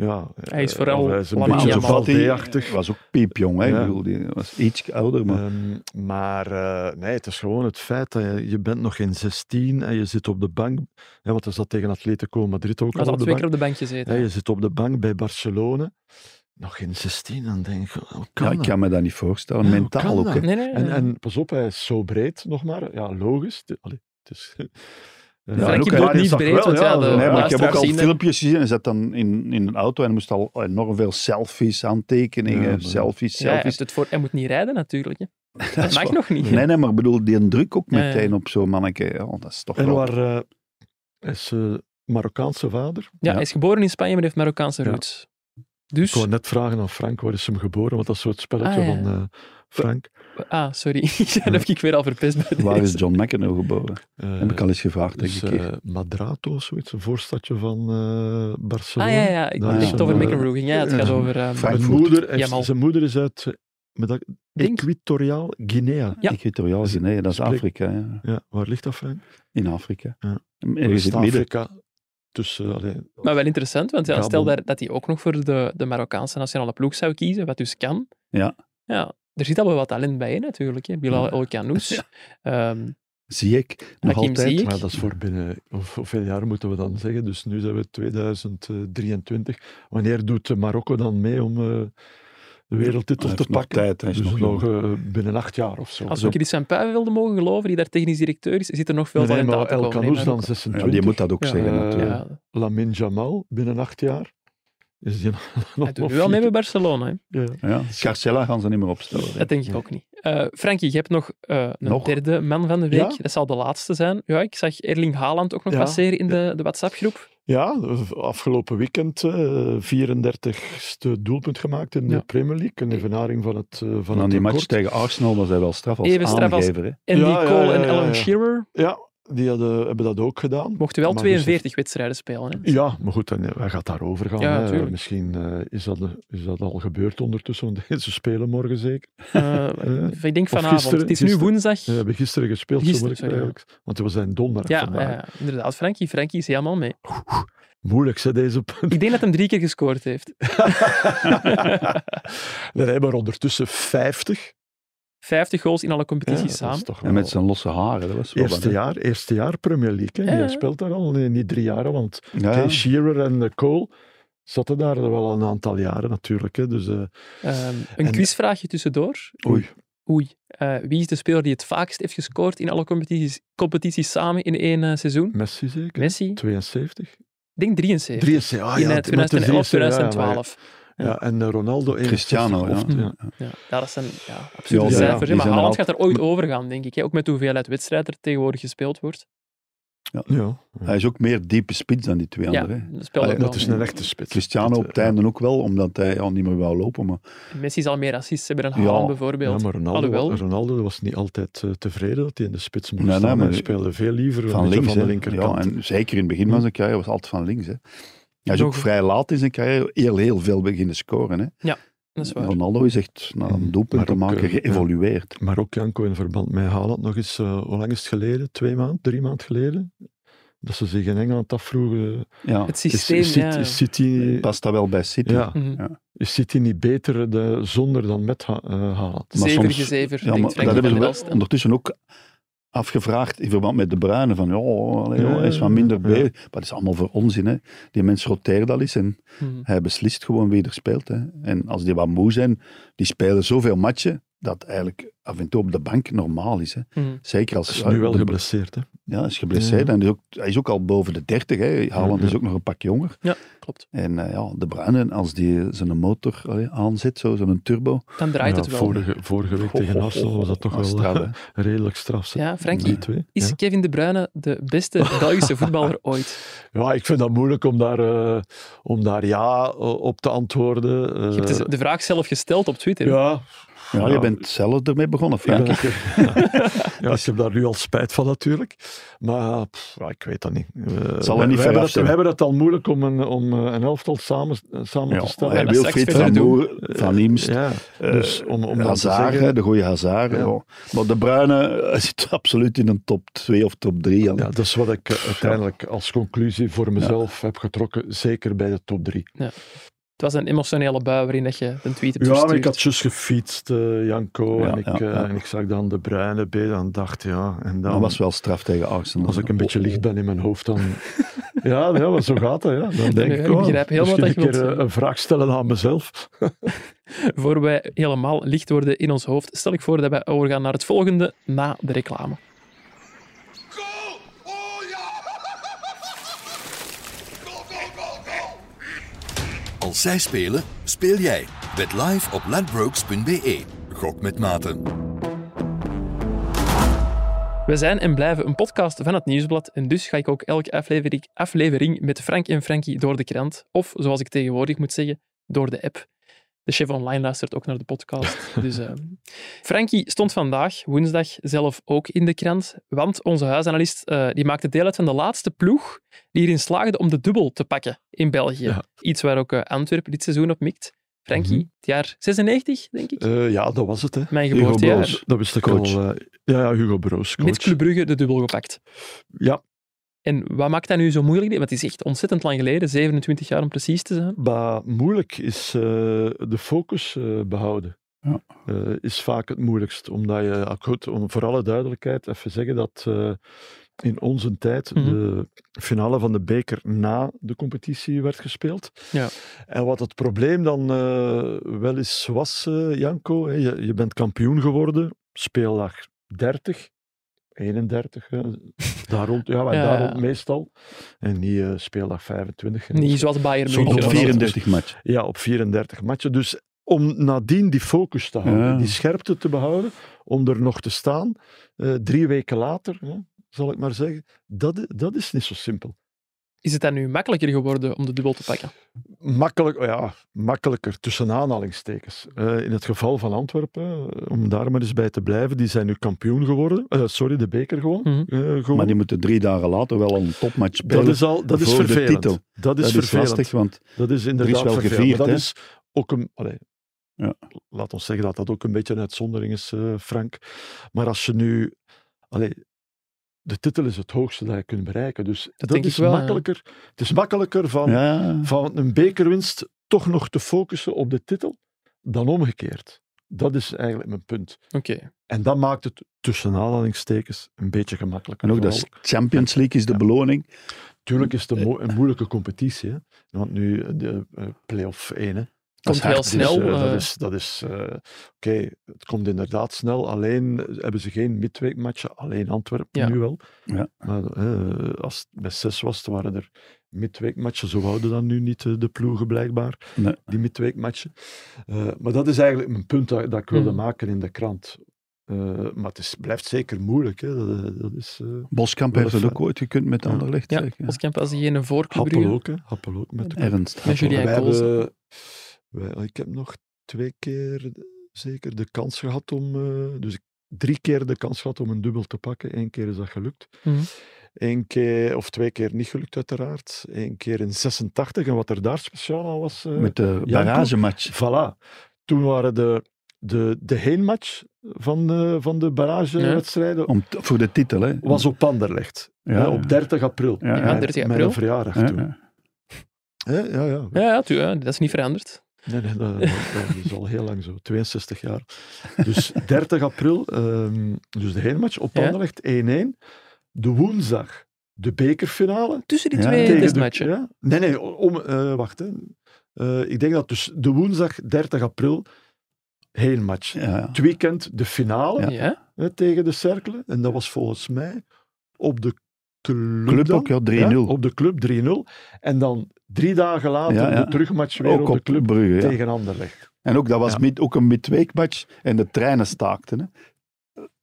Ja, Hij is eh, vooral of hij is een Lamine beetje Ansu Yamal. Valdé-achtig. Fati was ook piepjong, hè. Ja. Ik bedoel, die was iets ouder, maar... Ehm, maar eh, nee, het is gewoon het feit dat je, je bent nog geen 16 en je zit op de bank. Hè, want dat zat tegen Atletico Madrid ook Hij had al al op de twee bank. keer op de bank gezeten. Hè, je zit op de bank bij Barcelona. Nog geen 16, dan denk ik, hoe kan ja, ik dat? kan me dat niet voorstellen. Ja, hoe kan Mentaal ook, dat? hè. Nee, nee, En, nee. en pas op, hij is zo breed nog maar. Ja, logisch. Het- allee, het is, Eh, Ja, en ook Frankie hij- wordt hij niet zag breed, wel, want ja, ja, de zo. Nee, maar ik heb luisteraars ook al zien dat. filmpjes gezien. Hij zat dan in, in een auto en moest al enorm veel selfies, aantekeningen, Ja, maar- selfies, Ja, hij, selfies. heeft het voor, hij moet niet rijden natuurlijk. hè. Dat, Dat is mag wel- nog niet. hè. Nee, nee, maar ik bedoel, die druk ook Ja, ja. meteen op zo'n manneke. Ja, dat is toch En wel... waar eh, is eh, Marokkaanse vader? ja, ja. Hij is geboren in Spanje, maar heeft Marokkaanse Ja. roots. Dus, Ik wou net vragen aan Frank, waar is hem geboren? Want dat is zo het spelletje Ah, ja. van eh, Frank. ah, sorry. dat heb ik weer al verpest bij deze. Waar is John McEnroe geboren? Eh, Heb ik al eens gevraagd, denk dus, ik. eh, Madrato of zoiets, een voorstadje van eh, Ah Barcelona. ja, ja. ik Daar denk dat is het over een, eh, McEnroe ging. Ja, het gaat eh, over... eh, Frank- Zijn Frankfurt. moeder, heeft- Jamal. zijn moeder is uit eh, met dat- Denk- Equatoriaal Guinea. ja. Equatoriaal Guinea, dat is Dus Spreek- Afrika. Ja. Ja, waar ligt dat, Frank? In Afrika. Ja. Ergens in het midden. Afrika. Tussen, allee, Maar wel interessant, want ja, Gabon. stel daar, dat hij ook nog voor de, de Marokkaanse nationale ploeg zou kiezen, wat dus kan. Ja. ja er zit al wel wat talent bij, hè, natuurlijk. Hè. Bilal Ja. El Khanous. Ehm, Zie ik. Nog Hakim altijd. Ziyech. Maar dat is voor binnen, hoe- hoeveel jaar moeten we dan zeggen? Dus nu zijn we 2023. Wanneer doet eh, Marokko dan mee om eh, de wereldtitel Hij te heeft nog pakken? tijd, hij is dus nog nog, jong. eh, binnen acht jaar of zo. als Zo. we Christian Pui wilden mogen geloven, die daar technisch directeur is, zit er nog veel Nee, talent maar aan te El komen. hè, Khanous dan Marokko. Ja, die 26. moet dat ook Ja. zeggen, Eh, natuurlijk. Ja, Lamin Jamal binnen acht jaar. Is die nog hij doet nog nu al mee bij vier- Barcelona. Hè. Ja. Ja. Scarcella gaan ze niet meer opstellen. Dat denk ik. denk ik ook niet. Eh Frankie, je hebt nog eh, een Nog? derde man van de week. Ja? Dat zal de laatste zijn. Ja, ik zag Erling Haaland ook nog Ja. passeren in de, de WhatsApp-groep. Ja, afgelopen weekend eh 34ste doelpunt gemaakt in de Ja. Premier League. Een evenaring van het, eh, van En aan het die match record. tegen Arsenal was hij wel straf als Even straf als- aangever. hè. Andy Ja, ja, Cole ja, en ja, Alan ja. Shearer Ja, die hadden, hebben dat ook gedaan. mochten wel Maar dus- 42 wedstrijden spelen. Hè. Ja, maar goed, dan, eh, hij gaat daarover gaan. Ja, hè. natuurlijk. Misschien eh, is, dat, is dat al gebeurd ondertussen, want ze spelen morgen zeker. Eh, ik denk vanavond. gisteren- het is gisteren- nu woensdag. We hebben gisteren gespeeld, zo Gisteren, moet ik sorry, eigenlijk. Want we zijn donderdag ja, vandaag. ja, inderdaad. Frankie, Frankie is helemaal mee. Moeilijk, hè, deze punt. Ik denk dat hem drie keer gescoord heeft. We hebben er ondertussen 50. 50 goals in alle Ja, competities dat samen. is toch En met wel- zijn losse haren, dat was wel Eerste wat, hè. jaar, eerste jaar Premier League. Hè. Ja, Hij ja. speelt daar al nee, niet drie jaren, want Ja, Kay ja. Shearer en eh, Cole zaten daar wel een aantal jaren natuurlijk. Hè. Dus, eh, Ehm, een En- quizvraagje tussendoor. oei, Oei. Eh, wie is de speler die het vaakst heeft gescoord in alle competities, competities samen in één eh, seizoen? Messi zeker? Messi? Ik 72? denk 73. 73, ah, ja, in eh, maar het is 2011, 73, ja, ja, 2012. Ja, en eh, Ronaldo Cristiano, 61 of- ja. ja. Ja, dat zijn ja, absolute Ja, ja, cijfers. hè. die maar zijn Haaland al- gaat er ooit over gaan, denk ik. Hè? Ook met de hoeveelheid wedstrijden er tegenwoordig gespeeld wordt. Ja. Hij is ook meer diepe spits dan die twee Ja, anderen. hè. dat speelt Allee, ook Ah, dat wel is mee. een echte spits. Cristiano Dat, op eh, het einde ook wel, omdat hij al niet meer wou lopen. Maar Messi zal meer assists hebben dan Ja. Haaland, Ja, bijvoorbeeld. maar Ronaldo, Alhoewel. Ronaldo was niet altijd eh, tevreden dat hij in de spits moest Nee, nee, staan. maar- hij speelde veel liever van van, links, van de hè. linkerkant. Ja, en zeker in het begin van zijn carrière was hij altijd van links. Hè. Hij is Nog- ook vrij laat in zijn carrière heel, heel veel beginnen scoren. Hè. Dat is waar. Ronaldo is echt naar een doelpunt Maar te ook, maken eh, ja. geëvolueerd. Maar ook Janko in verband met Haaland nog eens, eh, hoe lang is het geleden? Twee maanden, drie maanden geleden? Dat ze zich in Engeland afvroegen, Ja. Het is, systeem, is, ja. City- is City, Past dat wel bij City? ja, Mhm. is City niet beter eh, de, zonder dan met Ha- eh, Haaland? Maar zever soms- gezever, Ja, maar denkt dat Frank hebben ze van wel Elst. ondertussen ook afgevraagd in verband met de bruine van ja, allee, ja, hij is wat minder Ja. bezig. Maar dat is allemaal voor onzin. Hè. Die mens roteert al eens en Mhm. hij beslist gewoon wie er speelt. Hè. En als die wat moe zijn, die spelen zoveel matchen, dat eigenlijk af en toe op de bank normaal is. Hè. Mhm. Zeker als... Hij Hmm. is nu wel de- geblesseerd, hè? Ja, is geblesseerd. Ja. En is ook, hij is ook al boven de 30. Hè. Haaland Ja, ja. is ook nog een pak jonger. Ja, klopt. En eh, ja, de Bruinen, als die zijn motor allee, aanzet, zo, zijn turbo. Dan draait Ja, het wel. Vorige, vorige week tegen Arsenal was dat toch wel eh, Straf, hè. redelijk straf. zeg. Ja, Die Frankie, twee. is ja. Kevin De Bruyne de beste Belgische voetballer ooit? Ja, ik vind dat moeilijk om daar, eh, om daar ja eh, op te antwoorden. eh. Je hebt dus de vraag zelf gesteld op Twitter. ja, Ja, Ja. je bent zelf ermee begonnen, ik, Frank. ben- ja, ik heb daar nu al spijt van natuurlijk. Maar pff, ja, ik weet dat niet. Eh, zal we- er niet ver we, hebben af dat, we zijn. hebben dat al moeilijk om een, om eh, een elftal samen, eh, samen te Ja, stellen. en hij dat wil straks Fit verder van doen. Moer, Van Imst, Ja, eh, dus om, om dan te Hazard, zeggen- hè, de goede Hazard. Ja. ja. Maar de Bruyne eh, zit absoluut in een top 2 of top 3. Ja, dat is wat ik eh, uiteindelijk als conclusie voor mezelf heb getrokken. Zeker bij de top drie. Het was een emotionele bui waarin dat je een tweet hebt Ja, maar verstuurd. ik had juist gefietst, eh, Janko, Ja, en, ik, ja, eh, ja. en ik zag dan de bruine bij, dan dacht ja, en Dat dan, was wel straf tegen Arsenal. als ik een beetje licht ben in mijn hoofd, dan... ja, ja, maar zo gaat dat, ja. Dan denk Nee, ik, ik oh, begrijp heel wat misschien dat je een keer wilt eh, zeggen. een vraag stellen aan mezelf. Voor wij helemaal licht worden in ons hoofd, stel ik voor dat wij overgaan naar het volgende na de reclame. Goal! Oh ja! Goal, goal, goal, goal! Als zij spelen, speel jij. Bet live op ladbrokes.be. E. Gok met maten. We zijn en blijven een podcast van het Nieuwsblad en dus ga ik ook elke aflevering, aflevering met Frank en Frankie door de krant. Of, zoals ik tegenwoordig moet zeggen, door de app. De chef online luistert ook naar de podcast. Dus, eh, Frankie stond vandaag, woensdag, zelf ook in de krant. Want onze huisanalist eh, die maakte deel uit van de laatste ploeg die erin slaagde om de dubbel te pakken in België. Ja. Iets waar ook eh, Antwerpen dit seizoen op mikt. Frankie, Mhm. het jaar 96, denk ik. Eh, ja, dat was het. Hè. Mijn Hugo geboortejaar. Broos. Dat wist ik Coach. al. eh, ja, ja, Hugo Broos. Coach. Met Club Brugge de dubbel gepakt. Ja, En wat maakt dat nu zo moeilijk? Want het is echt ontzettend lang geleden, 27 jaar om precies te zijn. maar moeilijk is eh, de focus eh, behouden. Ja. Eh, is vaak het moeilijkst. Omdat je, ah, goed, om voor alle duidelijkheid even zeggen dat eh, in onze tijd Mhm. de finale van de beker na de competitie werd gespeeld. Ja. En wat het probleem dan eh, wel eens was, eh, Janko, hè, je, je bent kampioen geworden, speeldag 30. 31, hè, daar rond, ja, maar Ja, daar ja. rond meestal. En niet eh, speeldag 25. hè. Dus Niet zoals Bayern Zo'n München. Op of zo. 34 match. Ja, op 34 matchen. Dus om nadien die focus te houden, Ja. die scherpte te behouden, om er nog te staan, eh, drie weken later, hè, zal ik maar zeggen, dat, i- dat is niet zo simpel. Is het dan nu makkelijker geworden om de dubbel te pakken? Makkelijk, oh ja, makkelijker, tussen aanhalingstekens. Eh, in het geval van Antwerpen, eh, om daar maar eens bij te blijven, die zijn nu kampioen geworden. Eh, sorry, de beker gewoon. eh, Mhm. Maar die moeten drie dagen later wel een topmatch spelen. dat is, al, dat is voor de vervelend. titel. Dat is Dat is vervelend. lastig, want Dat is inderdaad wel vervelend, gevierd, maar dat hè? is ook een... Allee, Ja. Laat ons zeggen dat dat ook een beetje een uitzondering is, eh, Frank. Maar als je nu... Allee, de titel is het hoogste dat je kunt bereiken. Dus dat, denk ik is wel, ja. makkelijker. Het is makkelijker van, ja, van een bekerwinst toch nog te focussen op de titel dan omgekeerd. Dat is eigenlijk mijn punt. Oké. En dat maakt het tussen aanhalingstekens een beetje gemakkelijker. en ook Vooral- dat Champions League is de Ja. beloning. Tuurlijk is het een, mo- een moeilijke competitie. Hè? Want nu eh, de eh, play-off 1. Hè? Komt is heel hard, dus, snel, eh, eh. dat is, dat is eh, oké, het komt inderdaad snel. Alleen eh, hebben ze geen midweekmatchen. Alleen Antwerpen Ja. nu wel. Ja. Maar eh, als het bij zes was, dan waren er midweekmatchen. Zo houden dan nu niet eh, de ploegen blijkbaar, Nee. die midweekmatchen. Eh, maar dat is eigenlijk mijn punt dat, dat ik wilde Mhm. maken in de krant. Eh, maar het is, blijft zeker moeilijk. Hè? Dat, dat is... eh Boskamp heeft het ook ooit gekund met Ja. Anderlecht. Ja, zeg, ja. Boskamp was diegene voor Club Happel Brugge. ook, hè? Happel ook met de Ernst. Met Julien wij Koolsen. hebben, wij- oh, ik heb nog twee keer zeker de kans gehad om. eh, dus ik- drie keer de kans gehad om een dubbel te pakken. Eén keer is dat gelukt. Mhm. Eén keer, of twee keer niet gelukt, uiteraard. Eén keer in 86. En wat er daar speciaal aan was. eh, Met de barragematch. Voilà. Toen waren de, de, de heenmatch van de, van de barragewedstrijden. Om t- voor de titel, hè. Was op Anderlecht. Ja, hè, ja. op 30 april. Ja, ja. Ja, 30 april. Mijn verjaardag Ja, toen. ja. Hè, ja, ja. Ja, ja, tu- ja, dat is niet veranderd. Nee, nee, dat, dat- dat is al heel lang zo. 62 jaar. Dus 30 april, ehm, dus de heenmatch op Ja. Anderlecht 1-1. De woensdag, de bekerfinale. Tussen die Ja. twee tegen de- testmatchen. ja? Nee, nee, om, eh, wacht. Hè. Eh, ik denk dat dus de woensdag 30 april, heenmatch. Ja, ja. Het weekend de finale Ja. hè, tegen de Cerkelen. En dat was volgens mij op de club. Club dan. ook, ja, 3-0. Ja, op de club 3-0. En dan drie dagen later Ja, ja. de terugmatch weer Ook op de op club Brugge, ja. tegen Anderlecht. En ook, dat was Ja. mid, ook een midweekmatch en de treinen staakten. Hè.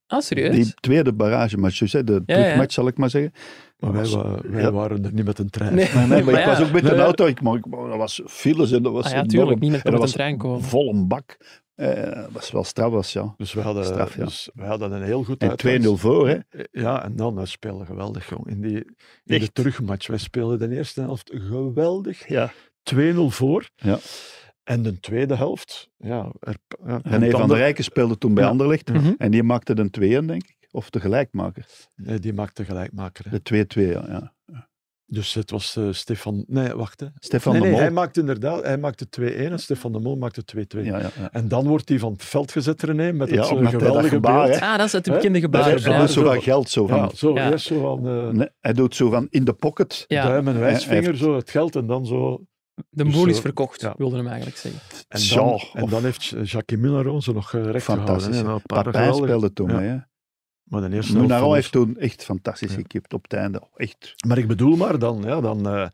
Ah, serieus? Die tweede barragematch, dus, hè, de Ja, terugmatch ja. zal ik maar zeggen. Maar wij, Was- wa- wij ja. waren er niet met een trein. Nee, Nee, maar, ik ja. was ook met Nee. een auto. Ik, maar, ik- maar dat was files en dat was Ah ja, enorm. tuurlijk. Niemand En kan met een dat was trein komen. vol een bak. Eh, dat was wel straf, was, ja. Dus, we hadden, Straf, ja. dus we hadden een heel goed En 2-0 uitlands. voor, hè. Ja, en dan we speelden geweldig, jong. In, die, in de Echt? terugmatch. Wij speelden de eerste helft geweldig. Ja. 2-0 voor. Ja. En de tweede helft, ja. Er, ja, René van der Tander- Rijken speelde toen bij Ja. Anderlecht. Mhm. En die maakte een 2-1, denk ik. Of de gelijkmaker. Nee, die maakte gelijkmaker. hè. De 2-2, ja. ja. Dus het was eh, Stefan... Nee, wacht hè. Stefan nee, de nee, Mol. hij maakte inderdaad... Hij maakte 2-1 en Stefan de Mol maakte 2-2. ja, ja, ja. En dan wordt hij van het veld gezet, René, met Ja, het eh, omdat hij dat geweldige gebaar, beeld. hè. Ah, dat is het bekende Dat gebaar. is- ja, dat is zo ja. van geld, zo van... Ja, zo, Ja. eerst zo van eh, Nee, hij doet zo van in de pocket. Ja, duim en Hij wijsvinger, heeft- zo het geld en dan zo. de Dus, boel is eh, verkocht, ja. wilde hem eigenlijk zeggen. En Tja, dan, of- en dan heeft Jacques Miller ze nog eh, recht Fantastisch. gehouden. hè. Een paar Papijn geweldige- speelde toen Ja. mee. hè. Maar de eerste helft Munaro van heeft ons- toen echt fantastisch Ja. gekipt op het einde. Oh, Echt. Maar ik bedoel maar dan, ja, dan eh,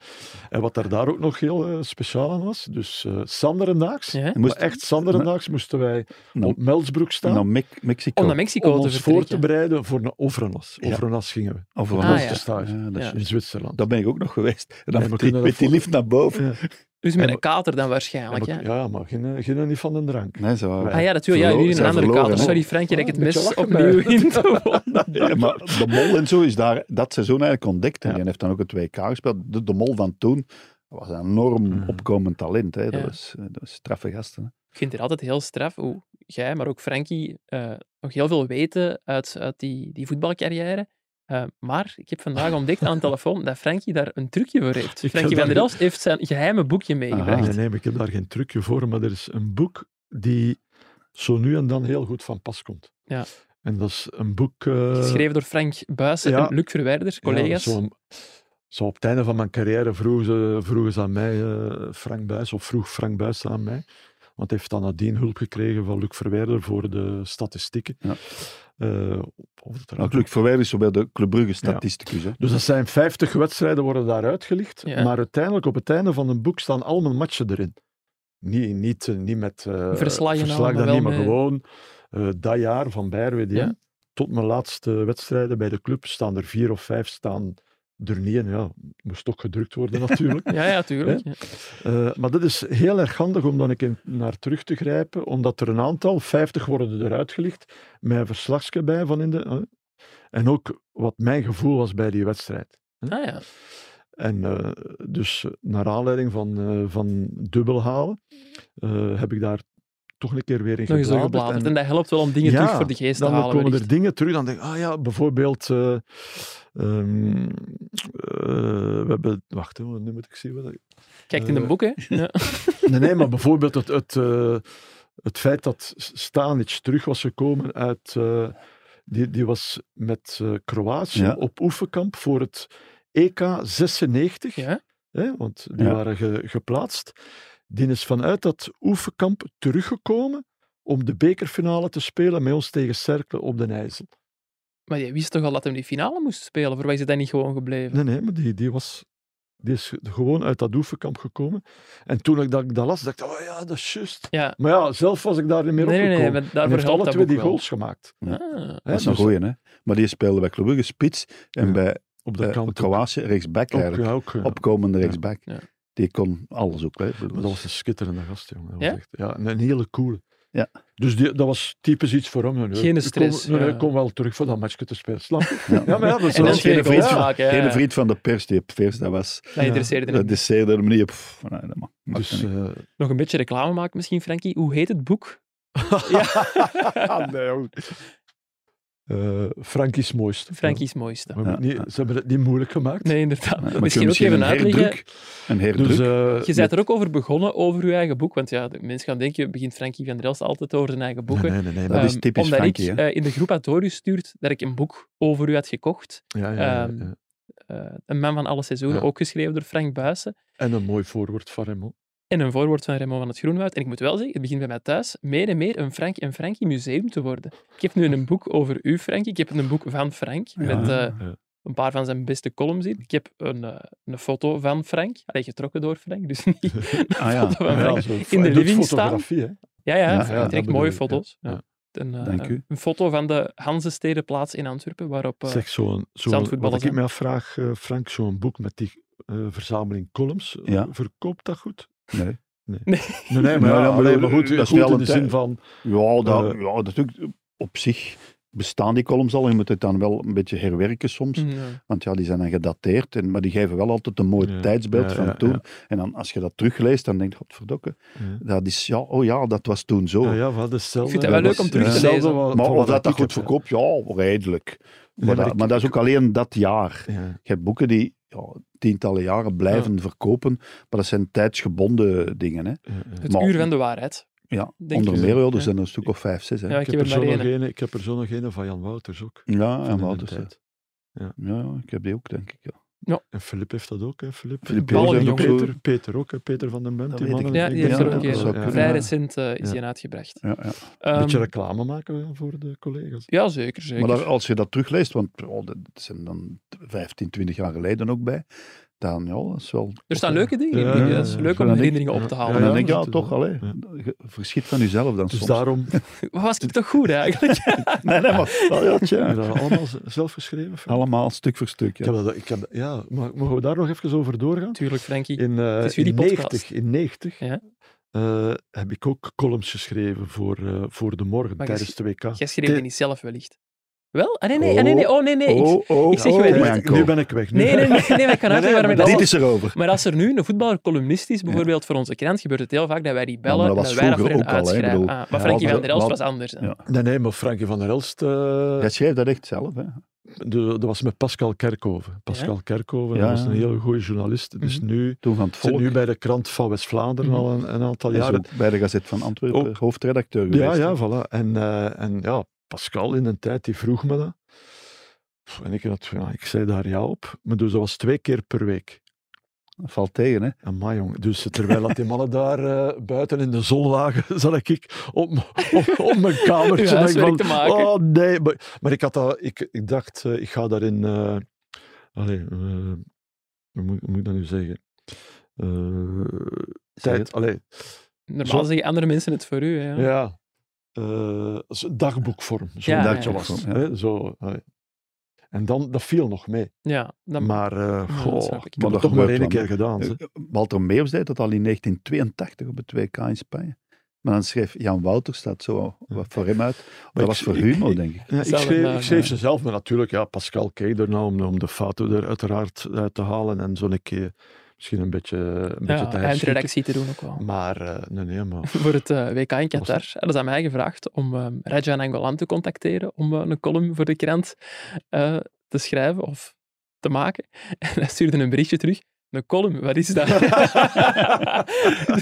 en wat er daar ook nog heel eh, speciaal aan was. Dus eh Sanderendaags, Ja. Hij moest maar echt Sanderendaags moesten wij Nou, op Melsbroek staan. naar Mex- Mexico. Om naar Mexico om te ons voor te vertrekken. bereiden voor een Ovrenas. Ja. Ovrenas gingen we, Of voor een Ah, onze ja. stage Ja, dat is Ja. juist. in Zwitserland. Daar ben ik ook nog geweest. En dan Ja, maar met die, kunnen we met die dat lift naar boven. Ja. Dus met Ja, een kater dan waarschijnlijk. Ja, Ja, maar- ja, maar geen, geen niet van de drank. Nee, ze waren- Ah ja, natuurlijk. Ja, Verlo- jullie een zijn andere verloren, kater. hè? Sorry Frankje, dat ik Ja, het een mes beetje lachen, opnieuw in te wonen. Ja, maar de mol en zo is daar dat seizoen eigenlijk ontdekt. En Ja. die heeft dan ook het WK gespeeld. De, de mol van toen was een enorm Mhm. opkomend talent. Hè. Dat, Ja. was, eh, dat was straffe gasten. hè. Ik vind het altijd heel straf hoe jij, maar ook Frankie, eh, nog heel veel weten uit, uit die, die voetbalcarrière. Eh, maar ik heb vandaag ontdekt aan de telefoon dat Frankie daar een trucje voor heeft. Ik Frankie van der heb daar- Elst heeft zijn geheime boekje meegebracht. Aha. Nee, nee, maar ik heb daar geen trucje voor, maar er is een boek die zo nu en dan heel goed van pas komt. Ja. En dat is een boek... eh, Geschreven door Frank Buijsen ja. en Luc Verwijders, ja, collega's. zo, zo op het einde van mijn carrière vroegen ze, vroegen ze aan mij, eh, Frank Buis, of vroeg Frank Buis aan mij. Want hij heeft dan nadien hulp gekregen van Luc Verwijder voor de statistieken. Ja. Eh, of het Nou, eruit Luc Verwijder is zo bij de Club Brugge statisticus. hè. Dus dat zijn 50 wedstrijden worden daar uitgelicht. Ja. Maar uiteindelijk, op het einde van een boek, staan al mijn matchen erin. Niet, niet, eh, niet met eh, Verslagen en al, verslag, maar dan wel niet, maar met- gewoon eh, dat jaar van Bayer WDM. Ja. Tot mijn laatste wedstrijden bij de club staan er vier of vijf staan er niet in. Ja, moest toch gedrukt worden natuurlijk. Ja, ja, tuurlijk. Ja. Eh, maar dat is heel erg handig om dan een keer naar terug te grijpen, omdat er een aantal, 50 worden eruit gelicht, met een verslagje bij van in de... eh, en ook wat mijn gevoel was bij die wedstrijd. Ah, ja. En eh, dus eh, naar aanleiding van, eh van dubbelhalen eh, heb ik daar toch een keer weer in Nog eens zo gebladerd. gebladerd. En- En dat helpt wel om dingen Ja, terug voor de geest te dan halen. komen er wellicht. dingen terug, dan denk ik, ah ja, bijvoorbeeld, eh, ehm, eh, we hebben, wacht, hè, nu moet ik zien wat ik- Kijk in de eh, boeken. Ja. Nee, nee, maar bijvoorbeeld het, het, eh, het feit dat Stanic terug was gekomen uit... eh, die, die was met eh, Kroatië Ja. op oefenkamp voor het E EK 96. Ja. Hè, want die Ja. waren ge- geplaatst. Die is vanuit dat oefenkamp teruggekomen om de bekerfinale te spelen met ons tegen Cercle op den IJssel. Maar je wist toch al dat hij die finale moest spelen? Voor wij is hij dan niet gewoon gebleven? Nee, nee, maar die, die, was, die is gewoon uit dat oefenkamp gekomen. En toen ik dat, dat las, dacht ik, oh ja, dat is juist. Ja. Maar ja, zelf was ik daar niet meer nee, nee, opgekomen. nee, maar En daarvoor heeft helpt alle dat twee boek die wel. goals gemaakt. Ah. Hè, Dat is een dus goeie, hè. Maar die speelde bij Club Brugge spits en Ja. bij Op de eh, kant. ook. Kroatië rechtsback Ook, eigenlijk. ja, ook, eh, ja. Opkomende Ja. rechtsback. Ja. Die kon alles ook. Hè. Dat Maar was- dat was dus- een schitterende gast, jongen. Dat was Ja? echt- ja, een, een hele coole. Ja. Dus die, dat was typisch iets voor hem. Nee, nee, Geen ik stress, Kom, nee, nee, ja. ik kom wel terug voor dat matchje te spelen. Snap je? Ja. Ja, maar ja, dat is En dan wel- was geen twee vriend goals van- maken. ja. Hele vriend van de pers die op vers, dat was... Dat interesseerde hem. Dat is zeer de manier... Pff, nee, dat mag, mag Dus, niet. eh, Nog een beetje reclame maken misschien, Frankie. Hoe heet het boek? ah, nee, joh. Eh, Frankie's mooiste. Frankie's mooiste. Ja. We moeten Ja, niet- ja. Ze hebben het niet moeilijk gemaakt. Nee, inderdaad. Maar kun je misschien ook misschien even een uitleggen. eh, herdruk? Een herdruk? Dus, eh, Je bent er ook over begonnen, over je eigen boek. Want ja, de mensen gaan denken, begint Frankie van der Elst altijd over zijn eigen boeken. nee, nee, nee, nee, Dat nee. is Ehm, typisch Omdat Frankie, ik hè? eh, in de groep had doorgestuurd dat ik een boek over u had gekocht. Ja, ja, ja, ehm, ja. Eh, een man van alle seizoenen, Ja. ook geschreven door Frank Buijsen. En een mooi voorwoord van hem. hoor. En een voorwoord van Raymond van het Groenwoud. En ik moet wel zeggen, het begint bij mij thuis meer en meer een Frank en Frankie museum te worden. Ik heb nu een boek over u, Frankie. Ik heb een boek van Frank, met Ja. eh, een paar van zijn beste columns in. Ik heb een, eh, een foto van Frank, Allee, getrokken door Frank, dus niet een Ah, ja. foto van Frank. Ja, zo- in de doet living staan. fotografie, hè. Ja, ja, Ja, Frank ja, trekt dat bedoel mooie ik, ja. foto's. Ja. Ja. Een, eh, Dank u. een foto van de Hanzestedenplaats in Antwerpen, waarop... eh, Zeg, zo'n, zo'n, zandvoetballen wat ik zijn. me afvraag, eh, Frank, zo'n boek met die eh, verzameling columns, eh, Ja. verkoopt dat goed? Nee. Nee, Nee. nee, nee, maar, Ja, ja, maar alleen dat- maar goed, eh, dat is goed wel in de een zin tij- van... Ja, dat, Eh. ja, natuurlijk op zich bestaan die columns al. Je moet het dan wel een beetje herwerken soms. mm, ja. Want ja, die zijn dan gedateerd. En, maar die geven wel altijd een mooi Ja, tijdsbeeld ja, van ja, toen. ja. En dan, als je dat terugleest, dan denk je, godverdokke. Ja. Dat is, ja, oh ja, dat was toen zo. Ja, ja, wat hetzelfde. Ik vind het wel leuk was om terug te hetzelfde lezen. wat- Maar van of wat dat dat ik goed heb, hè. verkoopt, ja, redelijk. Maar, maar dat, ik- maar dat is ook alleen dat jaar. Ja. Je hebt boeken die ja, tientallen jaren blijven verkopen, maar dat zijn tijdsgebonden dingen. Hè. Ja, ja. Het Maar- uur van de waarheid. Ja, Denk onder ik. meer, ja, er Ja. zijn er een stuk of vijf, zes. Hè. Ja, Ja, ik Ik heb heb, er er zo maar nog één. een, ik heb er zo nog een van Jan Wouters ook. ja, van in de maar dus, hè. tijd. ja, ik heb die ook, denk ik. Ja. En Filip heeft dat ook, hè? Filip. Filip Ballen, Peter, Peter ook, jongen. ook zo. Peter, Peter ook, hè, Peter van den Bent. Dat die weet ik mannen. Ja, Ik die denk heeft dat er dat ook zou een. kunnen, Vrij ja. recent eh, is die een uitgebracht. Ja, ja. Een beetje Ehm, reclame maken hè, voor de collega's. ja, zeker, zeker. Maar daar- als je dat terugleest, want oh, dat zijn dan 15, 20 jaar geleden ook bij, dan ja, dat is wel... Er staan leuke dingen in. Ja, die ja, video's. ja. Leuk om Zodat ik- herinneringen op te Ja, halen. En dan ja, denk je, ja, dat is toch, wel- allee, ja. je verschiet van jezelf dan Dus soms. daarom Maar was ik toch goed eigenlijk? Nee, nee, maar... wel, ja, tja. hebben we dat allemaal z- zelf geschreven. Frank? Allemaal stuk voor stuk. Ik Ja. heb dat, ik heb, dat- ja, mag- mogen we daar nog even over doorgaan? Tuurlijk, Frankie. In, eh, Het is jullie in podcast. 90, in 90 Ja. eh, heb ik ook columns geschreven voor, eh, voor de morgen Maar tijdens de WK. Jij schreef die Dit- niet zelf wellicht. Wel? Ah, nee, nee, ah, nee, nee. Oh, nee, nee. Ik- oh, oh, ik zeg oh, wel- mijn Kijk, Ko. nu ben ik weg. nu Nee, nee, nee, nee, maar ik kan Nee, uitleggen nee, waarom ik dat maar Dit was. is erover. Maar als er nu een voetballer columnist is, bijvoorbeeld voor onze krant, gebeurt het heel vaak dat wij die maar bellen dat en was dat wij dat voor vroeger hen ook al, hè, uitschrijven. bedoel. Ah, maar Frankie Ja, van der Elst maar- was anders. hè. Ja. Nee, nee, maar Frankie van der Elst, eh, Jij schreef dat echt zelf, hè? de- dat was met Pascal Kerkhoven. Pascal Kerkhoven, Ja, dat was ja. een hele goede journalist. Dus nu Toen van het zit volk. nu bij de krant van West-Vlaanderen Mhm. al een, een aantal Hij is jaren. ook bij de Gazet van Antwerpen, Ook. hoofdredacteur Ja, geweest. ja, voilà. En, eh, en ja, Pascal in een tijd, die vroeg me dat. Pff, En ik, had, ja, ik zei daar ja op. Maar dus dat was twee keer per week. Dat valt tegen, hè? Amai, jong. Dus terwijl dat die mannen daar eh, buiten in de zon lagen, zat ik op, m- op, op mijn Uw kamertje. huiswerk denk te van, maken. Oh nee. Maar, maar ik, had dat, ik, ik dacht, eh, ik ga daarin... eh allee, eh, hoe, moet, hoe moet ik dat nu zeggen? Eh, Zeg tijd, het. allee, Normaal Zo- zeggen andere mensen het voor u. Hè. ja. Eh, zo- dagboekvorm. Zo Ja, dat ja. was. Ja. Hè, zo, allee. en dan, dat viel nog mee. Ja, dan, Maar, eh dat goh, snap ik. ik Maar dat heb het toch maar gebeurt één wel, keer gedaan. ze. Eh, Walter Meeuws deed dat al in 1982 op het WK in Spanje. Maar dan schreef Jan Wouters dat zo wat voor hem uit. dat ik- was voor ik- humor, ik- denk ik. Ja, ik Zelf eh, schreef, maar, ik schreef ja. ze zelf, maar natuurlijk, ja, Pascal keek er nou om, om de fouten er uiteraard uit te halen en zo'n keer misschien een beetje, een beetje ja, te herschieten. eindredactie te doen ook wel. Maar, eh, nee, nee, maar... Voor het eh, WK in Qatar hadden ze aan mij gevraagd om ehm Rajan Angolan te contacteren om eh, een column voor de krant eh, te schrijven of te maken. En hij stuurde een berichtje terug. Een column, wat is dat? Daar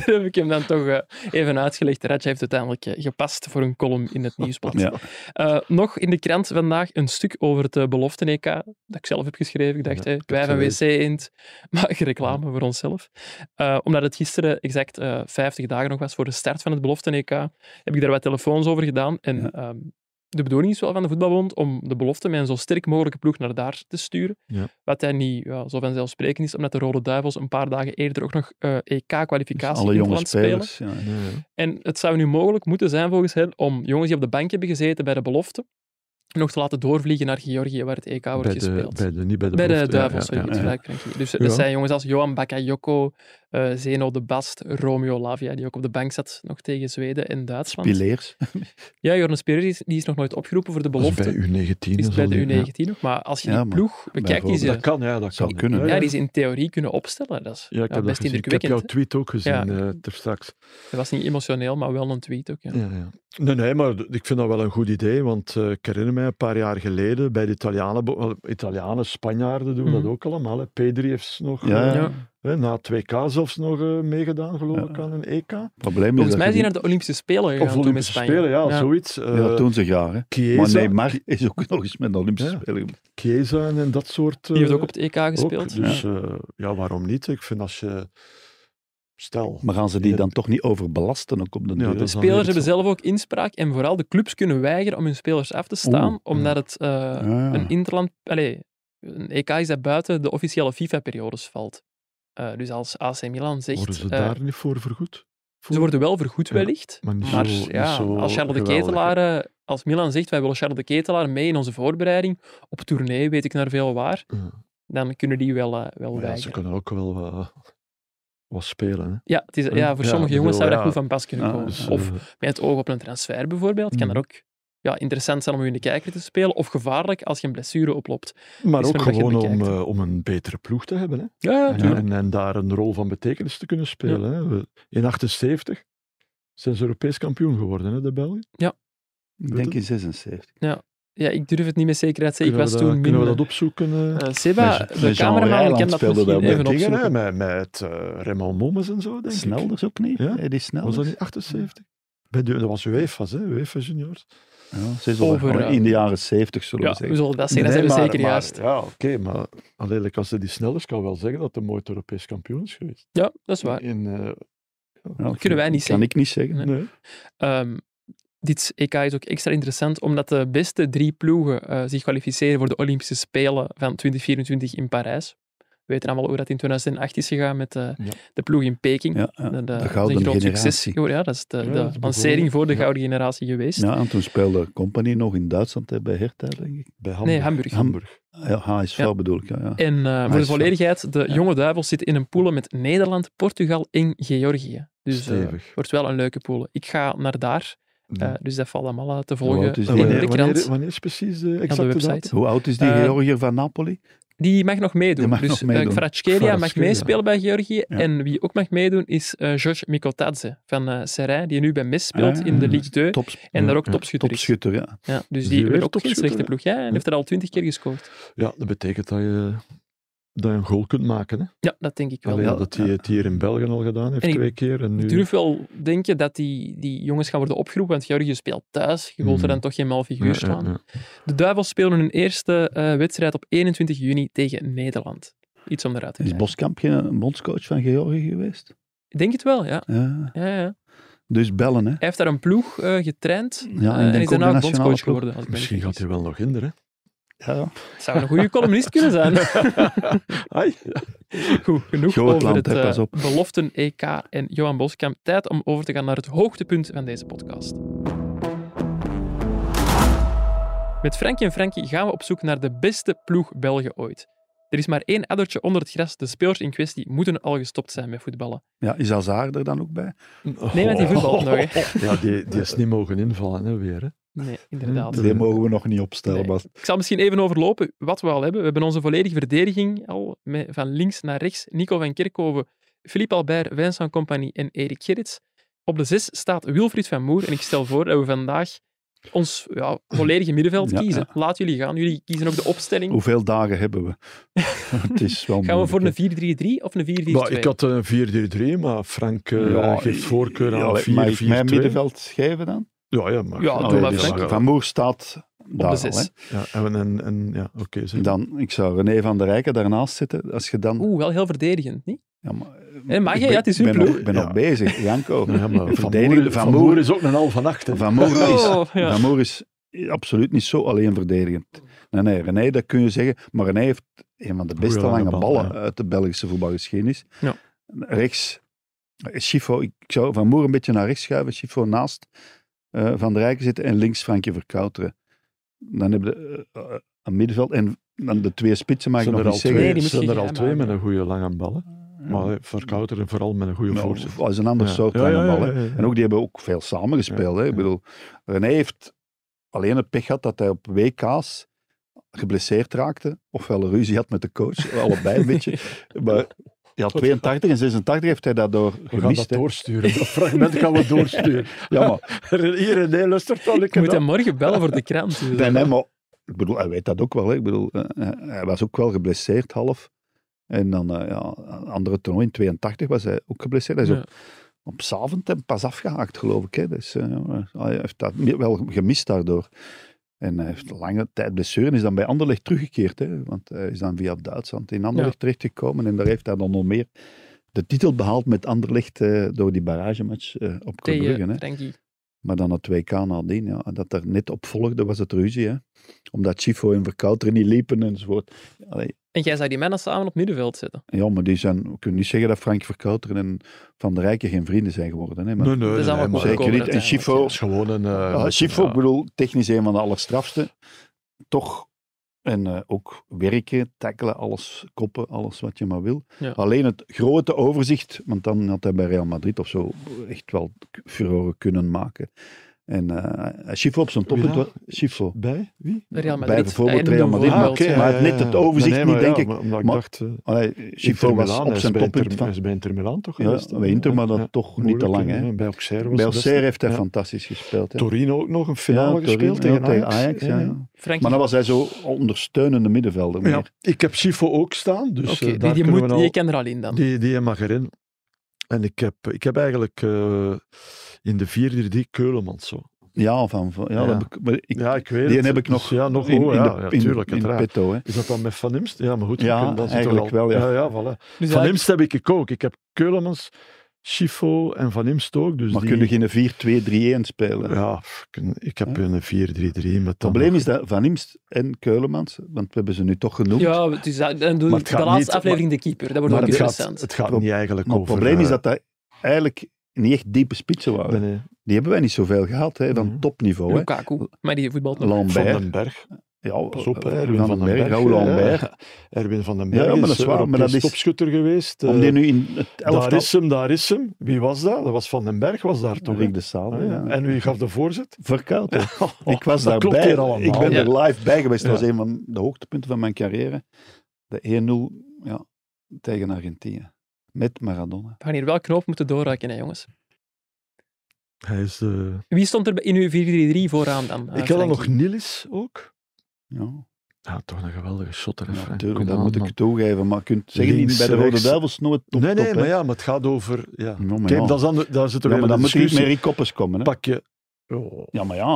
heb ik hem dan toch eh, even uitgelegd. Raja heeft uiteindelijk eh, gepast voor een column in het nieuwsblad. Ja. dus Eh, nog in de krant vandaag een stuk over het eh, belofte-EK, dat ik zelf heb geschreven. Ik dacht, Ja, hè, ik heb wij het van WC gelezen. Eend, maar reclame voor onszelf. Eh, omdat het gisteren exact eh 50 dagen nog was voor de start van het belofte-EK, heb ik daar wat telefoons over gedaan. En Ja. ehm, de bedoeling is wel van de voetbalbond om de belofte met een zo sterk mogelijke ploeg naar daar te sturen. Ja. Wat hij niet ja, zo vanzelfsprekend is, omdat de Rode Duivels een paar dagen eerder ook nog eh, Dus EK-kwalificatie alle in jonge Engeland spelen. spelers. Ja. Nee, En het zou nu mogelijk moeten zijn, volgens hen, om jongens die op de bank hebben gezeten bij de belofte, nog te laten doorvliegen naar Georgië, waar het EK wordt bij de, gespeeld. bij de, niet bij de bij de belofte, ja, Duivels, ja, ja, sorry, ja. het gelijk, Frankie. Dus eh, Ja. dat zijn jongens als Johan Bakayoko, eh, Zeno de Bast, Romeo Lavia, die ook op de bank zat nog tegen Zweden en Duitsland. Pileers. Ja, Jordan Spelers is, die is nog nooit opgeroepen voor de Dat is belofte. bij U19. is en bij zo, de die- ja. U19 nog, maar als je die Ja, maar ploeg bekijkt, die bijvoorbeeld- ze, Dat kan, ja, dat Zou kan. kunnen, ja, die ze in theorie kunnen opstellen. Dat is Ja, ik ja, heb dat best gezien. Ik heb indrukwekkend. jouw hè. tweet ook gezien, Ja. eh, terstraks. Dat was niet emotioneel, maar wel een tweet ook. Ja. Ja, ja. Nee, nee, maar d- ik vind dat wel een goed idee, want eh, ik herinner mij een paar jaar geleden bij de Italianen, bo- wel, Italianen Spanjaarden doen Mhm. dat ook allemaal. Hè. Pedri heeft nog, Ja, eh, Ja. hè, na 2K zelfs nog eh, meegedaan, geloof ik, aan een E EK. Probleem is Volgens mij dat je is hij die- naar de Olympische Spelen gegaan Of toen met Olympische Spanje. Spelen, ja, zoiets. Ja, dat eh, doen ze graag. Hè. Chiesa, Maar Neymar is ook nog eens met de Olympische Ja. Spelen. Chiesa en, en dat soort... Die heeft eh, ook op het EK gespeeld. ook. Dus ja. ja, waarom niet? Ik vind als je... Stel... Maar gaan ze die dan toch niet overbelasten ook op de Ja, deur? dat is dan weer Spelers hebben zo. zelf ook inspraak en vooral de clubs kunnen weigeren om hun spelers af te staan, Oeh, omdat het eh, ja. een interland... Allee, een EK is dat buiten de officiële FIFA-periodes valt. Eh, dus als AC Milan zegt... Worden ze eh, daar niet voor vergoed? ze worden wel vergoed Ja, wellicht, maar niet maar zo- niet ja, zo als Charles de geweldig, hè. Ketelaar... eh, Als Milan zegt, wij willen Charles de Ketelaar mee in onze voorbereiding, op tournee, weet ik naar veel waar, Ja. dan kunnen die wel, eh, wel Maar ja, ze weigeren. kunnen ook wel wat, wat spelen. Hè. Ja, het is, Hm? ja, voor Ja, sommige ik jongens zou bedoel, dat ja. goed van pas kunnen Ah, komen. Dus, of eh, met het oog op een transfer bijvoorbeeld, kan Mm. dat ook ja, interessant zijn om je in de kijker te spelen. Of gevaarlijk als je een blessure oploopt. maar is ook men dat je gewoon om, bekijkt, hè. eh, om een betere ploeg te hebben. Hè. Ja, En, en, en daar een rol van betekenis te kunnen spelen. Hè. We- In 78 zijn ze Europees kampioen geworden, hè, de Belgen. Ik denk in 76. Ja, ik durf het niet met zekerheid te zeggen. Ik was Kunnen we dat- toen Kunnen we minder... dat opzoeken? eh? Eh, Seba, Met- de met Jean cameraman, kan Rijland dat speelde misschien dat met even Dingen, opzoeken. hè, met met eh, Raymond Mommens en zo, denk ik. Snelders ook niet? Ja? Ja? Die Was dat Snelders? niet 78? Bij de, dat was UEFA's, hè, UEFA juniors. Ja, ze is al Over, wel eh, in de jaren 70, zullen Ja, we we zeggen. zullen dat zeggen. dat Nee, zijn we maar- zeker maar- juist. Ja, oké, maar alleen als ze die snellers kan wel zeggen dat de mooi Europees kampioen is geweest. Ja, dat is waar. In, eh, Ja, dat kunnen wij niet zeggen. Kan ik niet zeggen. Nee. nee. Ehm, dit EK is ook extra interessant, omdat de beste drie ploegen eh, zich kwalificeren voor de Olympische Spelen van 2024 in Parijs. We weten allemaal hoe dat in 2008 is gegaan met eh, Ja. de ploeg in Peking. Ja, ja. Dat, eh, de dat is gouden een groot generatie. succes geworden. Ja, dat is de, de dat is lancering voor de behoorlijk. gouden generatie geweest. Ja, en toen speelde Company nog in Duitsland hè, bij Hertha, denk ik. Bij Hamburg. Nee, Hamburg. Hamburg. Ja, HSV Ja. bedoel ik, ja. ja. En eh, voor de Nice, volledigheid, de ja. jonge duivels zitten in een pool met Nederland, Portugal en Georgië. Dus eh, Stevig. wordt wel een leuke pool. Ik ga naar daar, eh, Ja. dus dat valt allemaal eh, te volgen het is in niet- de wanneer, wanneer, krant. wanneer is precies de exacte de website. datum? Hoe oud is die Eh, Georgiër van Napoli? Die mag nog meedoen. Die mag dus nog eh, meedoen. Kvaratskhelia mag Kvaratskhelia. meespelen bij Georgië. Ja. En wie ook mag meedoen is eh George Mikotadze van eh Serijn, die nu bij Mes speelt Ah, in de ja. Ligue 2. Tops, En daar ook ja, topschutter is. topschutter, ja. Ja, dus Is die die hebben weer ook geen topschutter, slechte hè? ploeg. Ja, en heeft er al twintig keer gescoord. Ja, dat betekent dat je, dat je een goal kunt maken. Hè? Ja, dat denk ik wel. Alleen ja, dat hij het hier in België al gedaan heeft En ik twee keer. En Ah, nu... Ik durf wel denken dat die, die jongens gaan worden opgeroepen, want Georgië speelt thuis. Je wilt er Mhm. dan toch geen mal figuur Ja, ja, slaan. ja. De Duivels spelen hun eerste eh, wedstrijd op 21 juni tegen Nederland. Iets om eruit te Is kijken. Boskamp geen bondscoach van Georgië geweest? Ik denk het wel, ja. Ja. ja, ja. Dus bellen, hè. Hij heeft daar een ploeg eh, getraind eh, denk en is ook de daarna nationale bondscoach ploeg. geworden. Als ik me niet Misschien gaat hij vergis. wel nog hinderen. Ja. Zou een goede columnist kunnen zijn. Ai. Goed, genoeg Groot over land, het hè, eh, pas op. beloften EK en Johan Boskamp. Tijd om over te gaan naar het hoogtepunt van deze podcast. Met Frankie en Frankie gaan we op zoek naar de beste ploeg Belgen ooit. Er is maar één addertje onder het gras. De spelers in kwestie moeten al gestopt zijn met voetballen. ja. Is Hazard er dan ook bij? Oh. Nee, want die voetbalt nog. hè. Ja, die, die is niet mogen invallen hè, weer. Hè. Nee, inderdaad. Die mogen we nog niet opstellen, Nee. maar Ik zal misschien even overlopen wat we al hebben. We hebben onze volledige verdediging al met, van links naar rechts. Nico van Kerkhoven, Philippe Albert, Vincent Compagnie en Erik Gerrits. Op de zes staat Wilfried van Moer. En ik stel voor dat we vandaag ons ja, volledige middenveld Ja, kiezen. Laat jullie gaan. Jullie kiezen ook de opstelling. Hoeveel dagen hebben we? het is wel Gaan we voor een moeilijk, 4-3-3 of een 4-4-2? Maar ik had eh, een 4-3-3, maar Frank eh, hè. Ja, geeft voorkeur ja, aan mag ik mijn 4-4-2. middenveld schrijven dan? Ah, Ja, ja, maar... Ja, Allee, doe maar, die Frank. is- Van Moer staat op daar de al, zes. hè. Ja, en, en, en- ja, oké. zeg. Dan, ik zou René van der Rijken daarnaast zitten. Als je dan... Oeh, wel heel verdedigend, niet? Ja, maar, Hé, Eh, mag ik je? ben- Ja, het is uw ben ploeg. nog- Ik ben Ja. nog bezig, Janko. Ja, maar van, Verdediging- Moer, Van van Moer- Moer is ook een half van acht. hè. Van Moer is, Oh, ja. Van Moer is absoluut niet zo alleen verdedigend. Nee, nee, René, dat kun je zeggen. Maar René heeft een van de beste Goeie lange lange bal, ballen ja. uit de Belgische voetbalgeschiedenis. Ja. Rechts, eh, Schifo, ik zou Van Moer een beetje naar rechts schuiven. Schifo naast eh, Van der Rijken zitten en links Frankje Verkouteren. Dan hebben we eh, eh, een middenveld en dan de twee spitsen mag ik Zijn nog er niet al zeggen. Nee, twee, die moet zijn je er al geheim twee met houden. een goede lange ballen. Maar Verkouteren vooral met een goede Nou, voorzet. dat is een ander Ja. soort Ja, lange ja, ja, ballen. ja, ja. En ook die hebben ook veel samengespeeld. hè. Ik ja. bedoel, René heeft alleen het pech gehad dat hij op WK's geblesseerd raakte. Ofwel een ruzie had met de coach, allebei een beetje. Maar ja, 82 en 86 heeft hij daardoor We gaan gemist. dat hè. doorsturen. Dat fragment gaan we doorsturen. Ja, maar Hier, René, luistert wel. Ik moet hem morgen bellen voor de krant. dus, bij hem al- ik bedoel, hij weet dat ook wel. hè. Ik bedoel, eh, eh, hij was ook wel geblesseerd, half. En dan, eh, ja, een andere toernooi in 82 was hij ook geblesseerd. Hij is eh, Ja. op, op Zaventem pas afgehaakt, geloof ik. Hè. Dus, eh, hij heeft dat me- wel gemist daardoor. En hij heeft lange tijd blessure en is dan bij Anderlecht teruggekeerd. Hè. Want hij is dan via Duitsland in Anderlecht terechtgekomen. En daar heeft hij dan nog meer de titel behaald met Anderlecht eh, door die barragematch eh, op Club Brugge. hè. Tegen Frankie. Maar dan het WK nadien, ja, dat er net op volgde, was het ruzie. Hè? Omdat Chifo en Verkouteren niet liepen enzovoort. Allee, En jij zou die mannen samen op het middenveld zetten. ja, maar die zijn, we kunnen niet zeggen dat Frank Verkouteren en Van der Rijken geen vrienden zijn geworden. Hè? Maar, Nee, nee, Dat is allemaal nee, maar- goed zeker komen niet. En uiteindelijk, Chifo, Dat is gewoon een... eh, ja, Chifo ik ja. bedoel, technisch een van de allerstrafste. Toch, en eh, ook werken, tackelen, alles, koppen, alles wat je maar wil. Ja. Alleen het grote overzicht, want dan had hij bij Real Madrid of zo echt wel k- furoren kunnen maken. En eh Chifo op zijn toppunt, Wie was dat? Chifo. Bij? Wie? Real Madrid. Bij bijvoorbeeld Hij Real noemde Madrid. voorbeeld, Ah, oké, ja. maar het net het overzicht niet, denk ik. Maar, omdat ik Maar- dacht... eh, Allee, Inter Chifo was Milan, op hij is zijn bij toppunt Inter- van... Hij is bij Inter Milan toch Ja, geweest? hè? bij Inter, maar dat Ja, toch niet moeilijk, te lang. Hè. Bij Auxerre was Bij dat Auxerre heeft hij ja. fantastisch gespeeld. Hè. Torino ook nog een Ja, finale Torino, gespeeld ja, tegen Ajax. ja, hè. ja. Frankie, Maar dan was hij zo ondersteunende middenvelder. Ja, meer. ik heb Schifo ook staan, dus Oké, eh, die, daar die, kunnen moet, we al... die kan er al in dan. Die, die mag erin. En ik heb, ik heb eigenlijk eh, in de 4-3 Keulemans zo. Ja, van, van- ja, Ja. dat heb ik- maar ik- Ja, ik weet die het. heb ik Dus nog ja, nog in, in oh, ja, de, ja, in, tuurlijk, in de uiteraard. petto. Hè. Is dat dan met Van Imst? Ja, maar goed. je Ja, kunt- dan zit er eigenlijk al- wel, ja. Ja, ja, voilà. Dus Van eigenlijk- Imst heb ik ook. Ik heb Keulemans, Schifo en Van Imst ook. Dus Maar die, kunnen geen 4-2-3-1 spelen. Ja, pff, kun- ik heb Hè? een 4-3-3. Het Het probleem is dat Van Imst en Keulemans, want we hebben ze nu toch genoemd. Ja, het is, dat- dan doen Maar we het de gaat laatste niet- aflevering de keeper. Dat wordt Maar ook het gaat, interessant. het gaat Pro- niet eigenlijk maar het over... probleem is eh, dat dat eigenlijk niet echt diepe spitsen waren. nee, nee, Die hebben wij niet zoveel gehad hè, van Mhm. topniveau. Hè. Lukaku, maar die voetbalt nog. Van Lambert, den Berg. ja, Pas op, hè, eh, Erwin van, den Berg. Eh, Raoul hè. Lambert. Erwin van den Ja, Berg ja, maar dat is, eh, is waar, maar Europees dat is- topschutter geweest. Om eh, die nu in het daar elftal... is hem, daar is hem. Wie was dat? Dat was Van den Berg, was daar toch? hè? Rick de Saal. Ah, ja. En wie gaf de voorzet? Verkoud. hè. ik was Oh, dat klopt daarbij. hier allemaal, Ik ben ja. er live bij geweest. Dat Ja. was een van de hoogtepunten van mijn carrière. De 1-0 ja, tegen Argentinië. Met Maradona. We gaan hier wel knoop moeten doorraken, hè, jongens. Hij is, eh, Wie stond er in uw 4-3-3 vooraan dan? eh, ik had dan Frankie? nog Nilis ook. Ja, Ja, toch een geweldige shotter. hè, Ja, Frank. natuurlijk, Kom dat aan, moet man. ik toegeven. Maar je kunt zeggen, Links, niet bij de Rode rechts. Duivels nooit top, Nee, nee, top, hè. maar ja, maar het gaat over... Ja. Ja, maar Kijk, ja. dat is ander- daar zit er Ja, weer maar dan een moet je niet discussie. meer in koppers komen. Hè? Pak je... Oh, Ja, maar ja.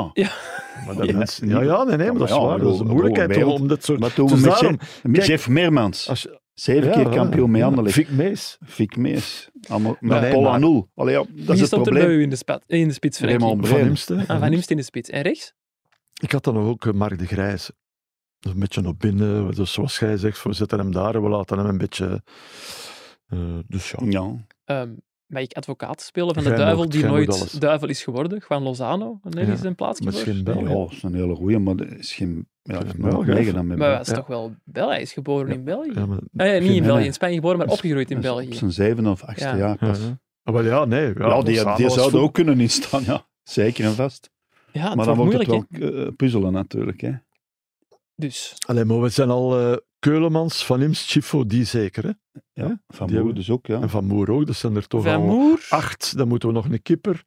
maar dat Ja, mensen- niet- ja, ja, nee, nee, Ja, maar maar dat is ja, waar. Dat is de bedoel, moeilijkheid om, bedoel, om dit soort... Wat doen we Dus met, daarom- Jeff, met kijk, Jeff Meermans? als je- Zeven ja, keer kampioen met Anderlecht. Vic Mees. Fik Mees. Allemaal, met nee, Paul maar- Anoul. Allee, ja, dat Wie is het stond er bij probleem. u in de, spa- in de spits, Frankie? Raymond Van Breen. Imst, hè. Ah, Van Imst in de spits. En rechts? Ik had dan ook eh, Mark de Grijze. Dus Een beetje op binnen. Ah. Dus zoals jij zegt, we zetten hem daar en we laten hem een beetje... eh, dus ja. Ja. Ehm mag ik advocaat spelen van de Jij duivel mocht, die jij nooit moet alles. duivel is geworden? Juan Lozano, nee, Ja, is een plaatsje Misschien voor. wel. ja, Oh, dat is een hele goeie, maar dat is geen... Ja, Geen heeft nog Belg, hè? meegedaan met Maar hij is Ja. toch wel België? Hij is geboren in België. Ja, maar, Ah, ja, niet in Nee, België, nee. in Spanje geboren, maar Dus- opgegroeid in dus België. Op zijn zevende of achtste Ja. jaar pas. Ja, Ja, ja. Ah, wel ja, nee. Ja, die, Lozano die was zouden vo- ook kunnen instaan, ja. Zeker en vast. Ja, Ah, het Maar dan wordt wordt moeilijk, hè? het wel eh, puzzelen natuurlijk. Hè. Dus, Allee, maar we zijn al eh, Keulemans, Van Imst, Schifo, die zeker. Hè? Ja. Van Die Moer hebben- dus ook, ja. En Van Moer ook, dat zijn er toch Van al Moer, acht. Dan moeten we nog een kipper.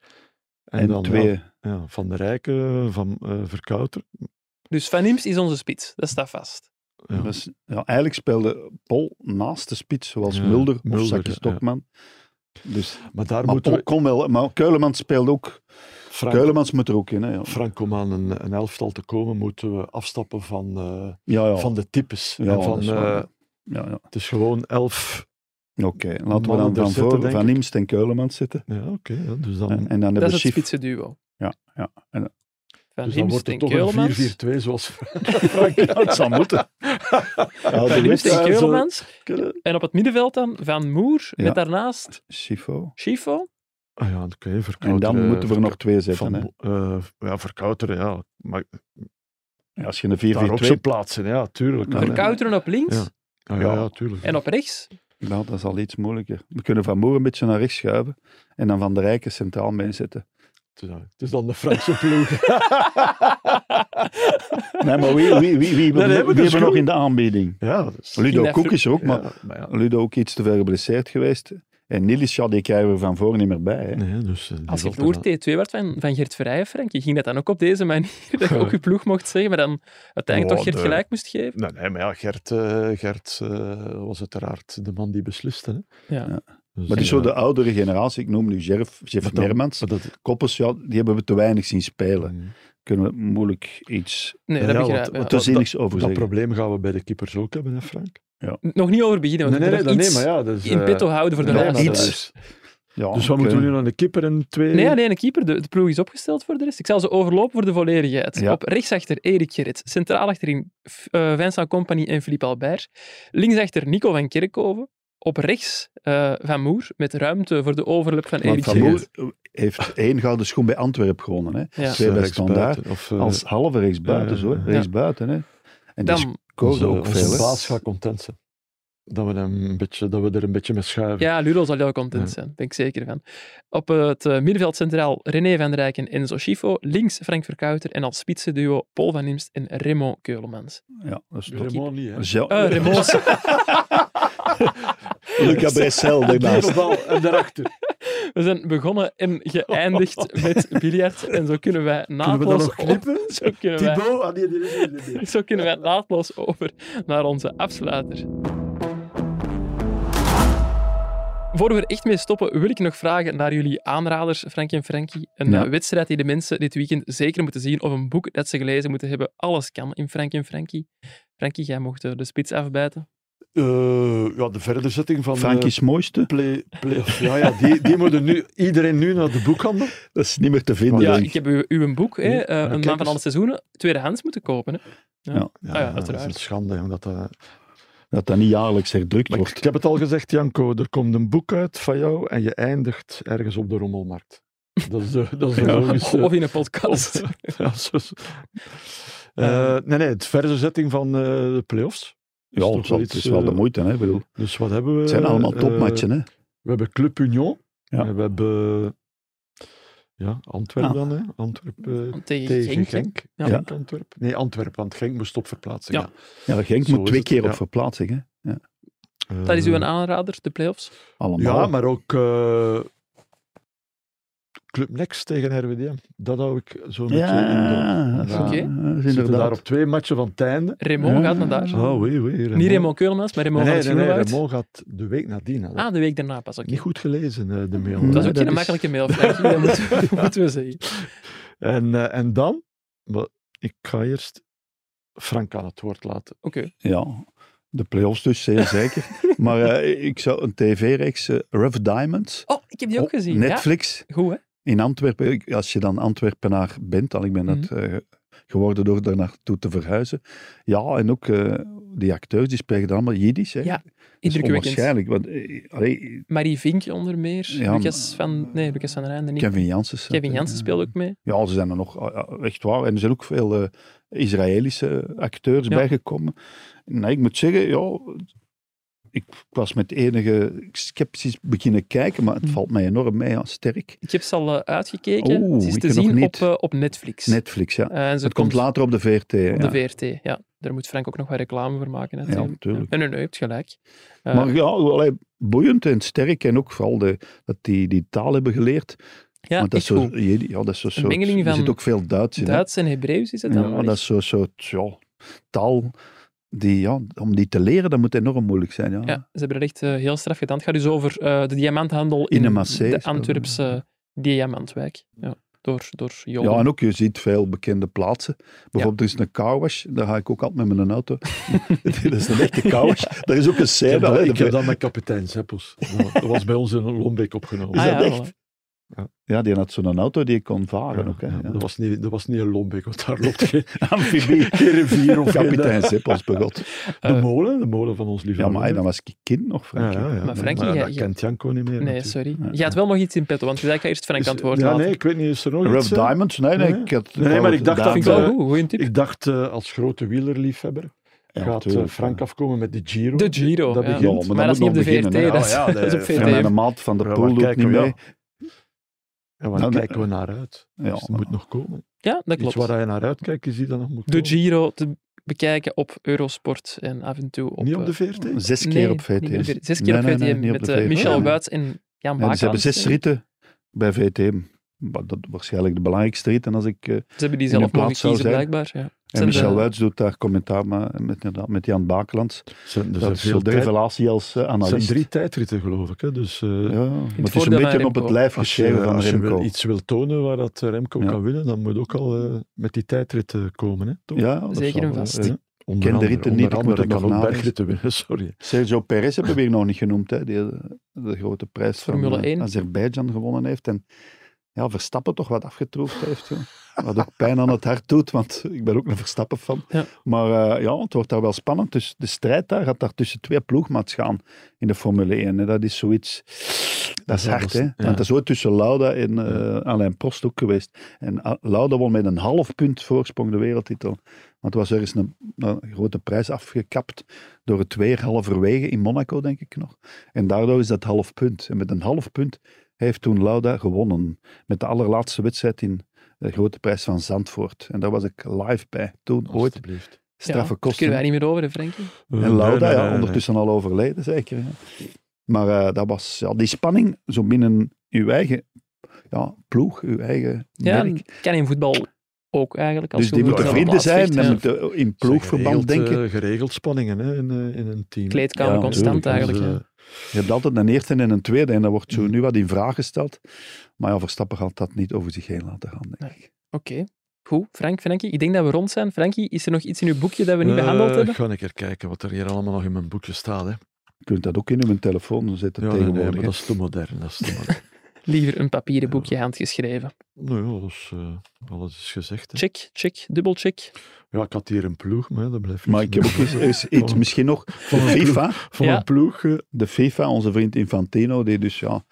En, En dan twee... Ja, ja, van de Rijken, van eh Verkouter. dus Van Imst is onze spits, dat staat vast. Ja. Dat is- ja, eigenlijk speelde Pol naast de spits, zoals Ja, Mulder, Mulder, of Saki ja. Stokman. Dus, Maar daar maar moeten Pol we... kon wel, maar Keulemans speelde ook. Frank, Keulemans moet er ook in, hè. Ja, Frank, om aan een, een elftal te komen, moeten we afstappen van, eh, ja. ja. van de types. Ja, en van, dat is waar, eh, ja. ja, ja. het is gewoon elf. Oké, laten we Mannen dan daar van zitten, voor denk Van ik. Imst en Keulemans zitten. Ja, oké. ja, dus dan, En, en dan Dat is hebben het Schiff. spitsenduo. Ja, en- Van dus dan Imst wordt het en toch Keulemans. een 4-4-2 zoals Frank, ja, het zal moeten. Ja, Van de Imst eh, en wedstrijd zal Keulemans. kunnen. En op het middenveld dan Van Moer, Ja. met daarnaast Schifo. Schifo. Ah ja, oké, Verkouter. En dan eh, moeten we er nog twee van, zetten. Hè. eh, ja, Verkouter, ja. Maar Ja, Als je daar ook een zijn plaatsen, ja, tuurlijk. Ja, Allee. Verkouter. Verkouteren op links Ja. Ah, ja, ja, tuurlijk. en op rechts. 4-4-2, nou, dat is al iets moeilijker. We kunnen Van Moer een beetje naar rechts schuiven en dan Van der Rijken centraal meezetten. Ja, Het is dan de Franse ploeg. Nee, maar wie, wie, wie, wie, wie Nee, nee, maar dat is hebben we goed. nog in de aanbieding? ja, dat is... In Ludo dat Koek ver- is er ook, maar Ja, maar ja. Ludo ook iets te veel geblesseerd geweest. En Nilis, ja, die krijgen we van voren niet meer bij. Hè. Nee, dus, eh, die Als je valt vroeger er T2 werd van, van Gert Verheijen, Frankie, ging dat dan ook op deze manier? Dat je ook je ploeg mocht zeggen, maar dan uiteindelijk toch Oh, Gert de- gelijk moest geven? wel- Nee, nee, maar ja, Gert, eh, Gert eh, was uiteraard de man die besliste. Hè. Ja. Dus, Maar die eh, zo de oudere generatie, ik noem nu Jerf, Jeff maar dan- Nermans, maar dat- Koppers, ja, die hebben we te weinig zien spelen. Mm. Kunnen we moeilijk iets Nee, Ja, dat want- begrijp ik. Oh, want ja. dat- zinnigs over Dat zeggen. probleem gaan we bij de keepers ook hebben, hè, Frank? Nog niet over beginnen, want we moeten nog iets ja. Dus, in petto houden voor de ja, rest. eh, dat Iets. is- Ja, Dus wat oké. moeten we nu aan de keeper en twee? Eh, Nee, alleen een keeper. De, de ploeg is opgesteld voor de rest. Ik zal ze overlopen voor de volledigheid. Ja. Op rechtsachter Erik Gerrit. Centraal achterin F- eh Vincent Company en Philippe Albert. Linksachter Nico van Kerkhoven. Op rechts eh, Van Moer, met ruimte voor de overlap van Want Erik Van Gerrit. Moer heeft één gouden schoen bij Antwerpen gewonnen. Hè. Ja. Of, Twee eh, bij rechtsbuiten, Standaard. Of, eh, Als halve rechtsbuiten, Ja, zo. ja, hè. ja. Rechtsbuiten, hè. En die Dan, scoorde onze- ook onze veel, hè. baas gaat content zijn. Dat we, hem een beetje, dat we er een beetje mee schuiven. ja, Ludo zal jou content Ja. zijn, daar ben ik zeker van. Op eh, het eh, middenveld centraal René van der Rijk en Enzo Schifo. Links Frank Verkouter en als spitsenduo Paul van Imst en Raymond Keulemans. Ja, dat is toch... Helemaal niet, hè. Zo- Eh Raymond, Luca Bressel daarnaast. bal en daarachter. we zijn begonnen en geëindigd met biljart. En zo kunnen wij Kunnen we dat naadloos nog knippen? op- Zo kunnen wij Thibaut? Ah, nee, die is niet, die is niet. Zo kunnen wij naadloos over naar onze afsluiter. Voor we er echt mee stoppen, wil ik nog vragen naar jullie aanraders, Frankie en Frankie. Een Ja. eh, wedstrijd die de mensen dit weekend zeker moeten zien, of een boek dat ze gelezen moeten hebben. Alles kan in Frankie en Frankie. Frankie, jij mocht eh, de spits afbijten. eh, ja, de verderzetting van... eh, Frankie's mooiste. Play, playoff. Ja, ja die, die moeten nu, iedereen nu naar de Ah boekhandel. Dat is niet meer te vinden. Ja, denk ik heb uw, uw boek, hè, Oh, Ja, eh, een kijk maand van eens. alle seizoenen, tweedehands moeten kopen. Hè. Ja, ja, dat is uiteraard. een schande. Omdat dat, Dat dat niet jaarlijks herdrukt Maar ik, wordt. ik heb het al gezegd, Janko, er komt een boek uit van jou en je eindigt ergens op de rommelmarkt. Dat is de, dat is de Ja. Oh. logische... Of in een podcast. Ja, zo- zo. Eh, nee, nee, het verse zetting van eh, de play-offs. Dus Ja, toch het is wel, iets, het is wel de eh, moeite. Hè? Ik bedoel, Dus wat hebben we? het zijn allemaal Eh, topmatchen. Hè? we hebben Club Union. Ja. En we hebben... Ja, Antwerpen Ah. dan, hè. Antwerpen eh, Tegen, tegen Genk, Genk. hè. Ja. Genk, Antwerpen. Nee, Antwerpen, want Genk moest op verplaatsing. Ja. Ja, Genk zo moet is twee het, keer op ja. verplaatsing. Hè? Dat is uw Eh, aanrader, de playoffs. Allemaal. Ja, maar ook eh, Club Next tegen RWDM. Dat hou ik zo meteen in de... Ja, Ja. dat is- Oké. dat We is zitten daar op inderdaad. Ah, twee matchen van het einde. Raymond Ja. gaat naar daar. Ja. Oh, wee, wee, Raymond. Niet Raymond Keulemans, maar Raymond nee, nee, van nee, het nee, Groenhout. Raymond gaat de week nadien. hè. Ah, de week daarna pas. oké. Niet goed gelezen, eh, de mail. Dat is Dat is Nee, ook geen makkelijke mail, Frankie, dat moeten we, moeten we zeggen. En, eh, en dan, maar ik ga eerst Frank aan het woord laten. Oké. Ja, de play-offs dus, zeer zeker. maar eh, ik zou een tv-reeks, eh, Rough Diamonds. Oh, ik heb die ook op gezien. Netflix Ja, goed, hè? in Antwerpen. Ik- Als je dan Antwerpenaar bent, al ik ben dat Mhm. eh, geworden door daar naartoe te verhuizen. Ja, en ook eh, die acteurs, die spreken dan allemaal Jiddisch. Hè? Ja, Dat is Indrukwekkend. Onwaarschijnlijk, want eh, allee, Marie Vink onder meer. Ja, Lucas maar- van... Nee, Lucas van der Einde niet. Kevin Janssen. staat Kevin er, Jansen eh. speelde ook mee. Ja, ze zijn er nog, ah, ah, echt waar. En er zijn ook veel eh, Israëlische eh, acteurs Ja. bijgekomen. Nee, ik moet zeggen, ja, ik was met enige sceptisch beginnen kijken, maar het Hm. valt mij enorm mee, ja, sterk. Ik heb ze al eh, uitgekeken. Oeh, ze is ik te Oh, nog zien niet. op, eh, op Netflix. Netflix, ja. Eh, en ze Het komt later op de VRT. hè, op ja. de VRT. Ja, daar moet Frank ook nog wat reclame voor maken. Natuurlijk. tuurlijk. Nee, nee, nee, je hebt gelijk. Eh, Maar ja, allee, boeiend en sterk. En ook vooral de, dat die, die taal hebben geleerd. ja, Want dat echt is zo, goed. je- ja, dat is zo, soort- mengeling Er van zit ook veel Duits in. hè. Duits en Hebreeuws is het dan. ja, wel dat echt. is zo'n soort ja, taal. Die, ja, om die te leren, dat moet enorm moeilijk zijn. Ja. Ja, ze hebben er echt eh, heel straf gedaan. Het gaat dus over eh, de diamanthandel In in, de Massé is de dat, Antwerpse ja. diamantwijk. Ja, door, door Joden. Ja, en ook je ziet veel bekende plaatsen. Bijvoorbeeld, er is een carwash, daar ga ik ook altijd met mijn auto. dat is een echte carwash. Er is ook een Ik scène. heb, dat, hè, ik de- heb dat met kapitein Zeppels. Dat dat was bij ons in een Lombeek opgenomen. Ah, is dat ja, echt? voilà. Ja, die had zo'n auto die ik kon varen Ja, ook. Hè, ja, ja. maar Dat, was niet, dat was niet een Lombeek, want daar loopt geen, Amfibie. geen rivier of geen- Kapitein Zippels begot. De Eh, molen, de molen van ons lieve Ja, maar hey, Lombeek. dan was ik kind nog, Frank. Ja, ja, ja. Maar Frankie, jij- dat jij- kent Janko niet meer. Nee, natuurlijk. sorry. Ja. Je had wel nog iets in petto, want je zei ik ga eerst Frank Is- aan het woord ja, laten. nee, ik weet niet, is er nog Rough iets? hè? Diamonds? Nee, nee. Nee. Ik had, Nee, maar ik dacht Dat dat vind ik eh, wel goed. Goeie tip. Ik dacht eh, als grote wielerliefhebber Ja, gaat eh, tuurlijk, Frank ja. afkomen met de Giro. De Giro, Dat ja. Ja, begint. maar, dat is moet niet op de nog VRT, beginnen, hè. dat, is, Oh, ja, dat is op nee, VRT. Ja, maar de maat van de Ja, maar pool doet kijken niet we mee. Ja, maar Nou, daar de- kijken we naar uit. Ja, dus dat moet nog komen. Ja, dat Iets klopt. waar je naar uitkijkt, is die dan nog moet De komen. Giro te bekijken op Eurosport en af en toe op... Niet op de eh, VRT? Zes keer nee, op VT. niet op de VRT. Zes keer op VT met eh, Michel Wuits en Jan Ja, Bakker. dus ze hebben zes ritten bij VTM. Wat dat waarschijnlijk de belangrijkste rit. En, als ik, eh, Ze hebben die in hun zelf mogen plaats zou kiezen, zijn. blijkbaar. Ja. en Zijn de- Michel Wuits doet daar commentaar maar met, inderdaad, met Jan Bakelands. Zijn, Dus er dat zijn is veel zo de tijd- revelatie als eh, het zijn analist. drie tijdritten, geloof ik. Hè? Dus ja, eh, maar het is een voordeel beetje van op het Remco. lijf als je, geschreven van als je wil Remco. iets wil tonen waar dat eh, Remco Ja. kan winnen, dan moet ook al eh, met die tijdritten komen. Hè? Toch? Ja, dat Zeker zal en wel, eh, vast. ja. Onder ken de andere- ritten niet, onder ik moet andere, het nog kan ook nalezen. bergritten winnen, sorry. Sergio Perez hebben we hier nog niet genoemd. Hè, die eh, de grote prijs Formule van eh, 1. Azerbeidzjan gewonnen heeft. En ja, Verstappen toch wat afgetroefd heeft. joh. Wat ook pijn aan het hart doet, want ik ben ook een Verstappen van. Ja. Maar eh, ja, het wordt daar wel spannend. Dus de strijd daar gaat daar tussen twee ploegmaats gaan in de Formule 1. Hè. Dat is zoiets... Dat is Ja, hard, dat is- hè. ja. Want dat is ooit tussen Lauda en eh Alain Prost ook geweest. En ah, Lauda won met een half punt voorsprong de wereldtitel. Want er was er eens een, een grote prijs afgekapt door het weer halverwege in Monaco, denk ik nog. En daardoor is dat half punt. En met een half punt heeft toen Lauda gewonnen. Met de allerlaatste wedstrijd in de grote prijs van Zandvoort. En daar was ik live bij. Toen ooit Alsjeblieft. Ja, straffe daar kosten. kunnen wij niet meer over, hè, Frankie. En Lauda, Nee, nee, ja, nee, nee. ondertussen al overleden, zeker. hè. Maar eh, dat was ja, die spanning, zo binnen uw eigen ja, ploeg, uw eigen Ja, merk. kan in voetbal ook eigenlijk. Als Dus je die goed moeten op de vrienden plaats zijn, ligt, dan ja. moeten in ploegverband Geregeld, denken. eh, geregeld spanningen hè, in, eh, in een team. Kleedkamer Ja, constant Tuurlijk, eigenlijk. dus, ja. eh, Je hebt altijd een eerste en een tweede en dat wordt Mm. zo nu wat in vraag gesteld. Maar ja, Verstappen gaat dat niet over zich heen laten gaan, denk ik. Oké. Goed, Frank, Frankie, ik denk dat we rond zijn. Frankie, is er nog iets in uw boekje dat we niet Eh, behandeld hebben? Ga eh, ik er kijken wat er hier allemaal nog in mijn boekje staat. Hè. Je kunt dat ook in uw telefoon zetten Ja, nee, nee, tegenwoordig. maar hè. dat is te modern. Dat is te modern. Liever een papieren boekje handgeschreven. nou ja, dat is, eh, alles is gezegd. hè. Check, check, dubbel check. Ja, ik had hier een ploeg, maar ja, dat blijft Maar ik niks heb ook meer eens, over. eens iets, Van- misschien nog, van een ploeg- FIFA. Van Ja. een ploeg. eh, De FIFA, onze vriend Infantino, die dus ja,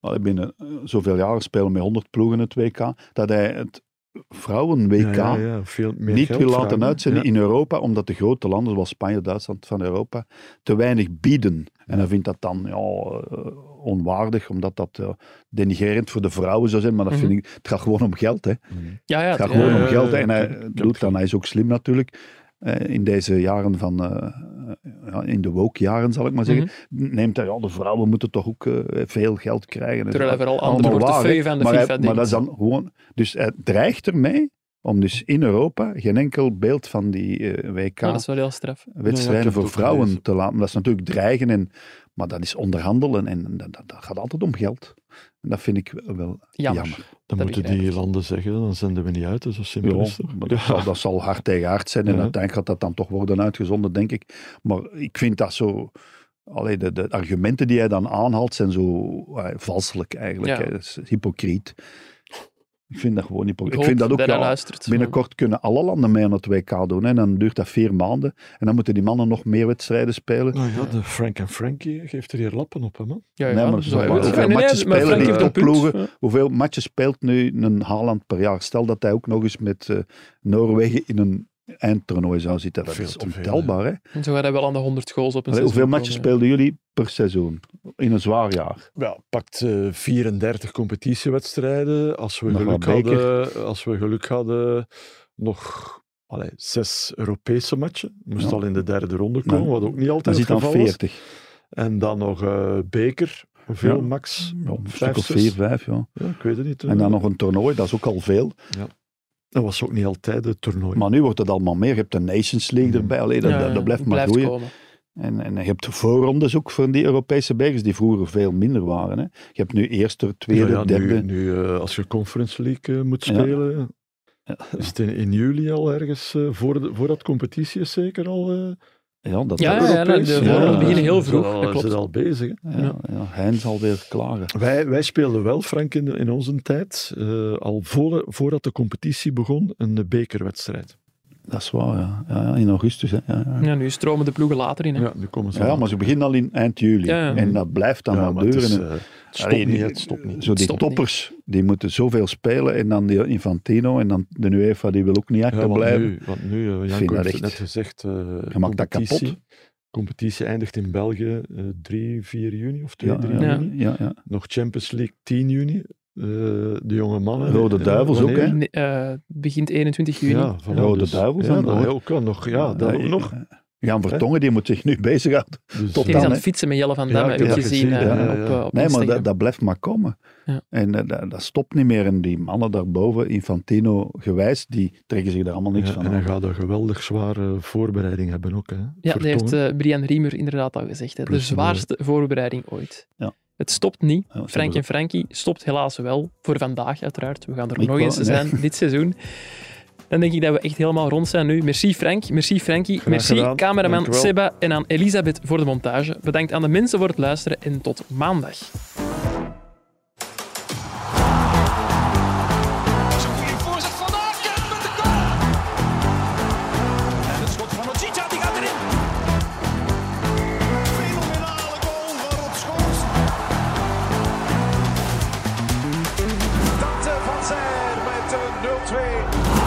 al binnen eh, zoveel jaren spelen met 100 ploegen het WK, dat hij het vrouwen-WK ja, ja, veel meer niet geld wil laten vragen, hè. uitzenden Ja. in Europa, omdat de grote landen zoals Spanje, Duitsland van Europa te weinig bieden. En hij vindt dat dan ja, eh, onwaardig, omdat dat eh, denigrerend voor de vrouwen zou zijn. Maar dat Mhm. vind ik, het gaat gewoon om geld. Hè. Mm. Ja, ja. Het gaat het- gewoon eh, om geld. hè. En ja, hij ik- ik heb doet het dat. Hij is ook slim natuurlijk. Eh, in deze jaren van, eh, ja, in de woke-jaren zal ik maar zeggen, Mhm. neemt hij, ja, de vrouwen moeten toch ook eh, veel geld krijgen. En Terwijl zo. hij vooral andere Allemaal waar, portefeuille hè. van de maar hij- FIFA Maar dat denkt. is dan gewoon... Dus hij dreigt ermee om dus in Europa geen enkel beeld van die eh, Ja, dat is wel heel straf. Ja, ja, ik WK-wedstrijden heb het voor ook vrouwen gelezen. te laten. Dat is natuurlijk dreigen, en, maar dat is onderhandelen en dat, dat, dat gaat altijd om geld. En dat vind ik wel Jammer. jammer. Dan Dat moeten begrijp die landen zeggen, dan zenden we niet uit. hè. Zo simpel Ja, is het. maar dat, zal, dat zal hard tegen hard zijn en Ja. uiteindelijk gaat dat dan toch worden uitgezonden, denk ik. Maar ik vind dat zo... Allee, de, de argumenten die hij dan aanhaalt zijn zo eh, valselijk eigenlijk. Ja. hè. Dat is hypocriet. Ik vind dat gewoon Ik, hypocriet. hoop vind dat ook... hij ja, luistert. binnenkort kunnen alle landen mee aan het WK doen. Hè. En dan duurt dat vier maanden. En dan moeten die mannen nog meer wedstrijden spelen. Nou ja, de Frank en Frankie geeft er hier lappen op, hè, man. Ja, ja, Nee, maar dat dat is zou je wel waar. willen. Hoeveel matchen maar spelen Frank die eh, heeft een punt. topploegen? Hoeveel matchen speelt nu een Haaland per jaar? Stel dat hij ook nog eens met eh, Noorwegen in een eindtoernooi zou zitten. Dat Veel is te veel, ontelbaar. Hè. En zo gaat hij wel aan de 100 goals op een Allee, hoeveel seizoen matchen komen, speelden jullie per seizoen? In een zwaar jaar. Ja, pakt eh, 34 competitiewedstrijden. Als we, Nog geluk wat beker. hadden, als we geluk hadden, nog allee, zes Europese matchen. Moest Ja. al in de derde ronde komen, Nou, wat ook niet Dan altijd zit het dan geval was. 40. En dan nog eh, beker, veel Ja. max. Ja, een stuk Vijf, of zes. 4, 5. Ja. Ja, ik weet het niet. En dan nog een toernooi, dat is ook al veel. Dat was ook niet altijd het toernooi. Maar nu wordt het allemaal meer. Je hebt de Nations League Mhm. erbij. Allee, dat, Ja, dat, dat blijft maar groeien. komen. En, en je hebt voorrondes ook van die Europese bergers die vroeger veel minder waren. Hè. Je hebt nu eerste, tweede, Ja, ja, derde. Nu, nu eh, als je Conference League eh, moet Ja. spelen, Ja. is het in, in juli al ergens, eh, voor, de, voor dat competitie is zeker al eh Ja, dat Ja, dat- Ah, ja, nou, de Europees. voorronden beginnen heel vroeg, Ze dat zijn al- klopt. ze zijn al bezig. hè. ja, ja, Heinz alweer klagen. Wij, wij speelden wel, Frank, in, in onze tijd, eh, al voor, voordat de competitie begon, een eh, bekerwedstrijd. Dat is waar, ja. ja, ja, in augustus. Hè. Ja, ja. Ja, nu stromen de ploegen later in. hè. Ja, nu komen ze Ja, aan. maar ze beginnen al in eind juli. Ja, ja. En dat blijft dan Ja, maar maar het duren. is, En- eh, het stopt Allee, niet, die- hè, het stopt niet. Zo die stopt niet. toppers, die moeten zoveel spelen. En dan die Infantino en dan de UEFA, die wil ook niet achter Ja, want blijven. nu, want nu eh, vind Janko dat heeft het echt- net gezegd, eh, dat kapot. competitie eindigt in België eh, 3, 4 juni of 2, Ja, 3 ja, juni. ja, ja, ja. Nog Champions League 10 juni. eh, de jonge mannen. Rode eh, Duivels ook, hè? wanneer? Nee, eh, begint 21 juni. Ja, voilà, Rode dus- Duivels ja, dan dat ook. ook wel nog. Ja, dat ook Ja, eh, nog. Jan Vertongen, die moet zich nu bezighouden. Dus, Die tot is dan, aan hè. het fietsen met Jelle van Ja, Damme, ik heb heb ik dat gezien gezien, eh, ja, op, ja. eh, op Nee, maar Instagram. dat, dat blijft maar komen. Ja. En eh, dat, dat stopt niet meer. En die mannen daarboven, Infantino gewijs, die trekken zich daar allemaal niks ja, van en hij aan. gaat een geweldig zware voorbereiding hebben ook. Hè. Ja, dat heeft Vertongen. eh, Brian Riemer inderdaad al gezegd. Hè. De Plus, eh, zwaarste voorbereiding ooit. Ja. Het stopt niet. Ja, dat Frank en hebben Frankie stopt helaas wel. Voor vandaag, uiteraard. We gaan er nog Ik wou- eens nee. zijn dit seizoen. Dan denk ik dat we echt helemaal rond zijn nu. Merci Frank, merci Frankie, merci gedaan. cameraman Dankjewel. Seba en aan Elisabeth voor de montage. Bedankt aan de mensen voor het luisteren en tot maandag. Dat is een goede voorzet van de Aken met de goal. En het schot van Ojita, die gaat erin. Fenomenale goal van Rob Schoofs. Tante van Zijl met een 0-2.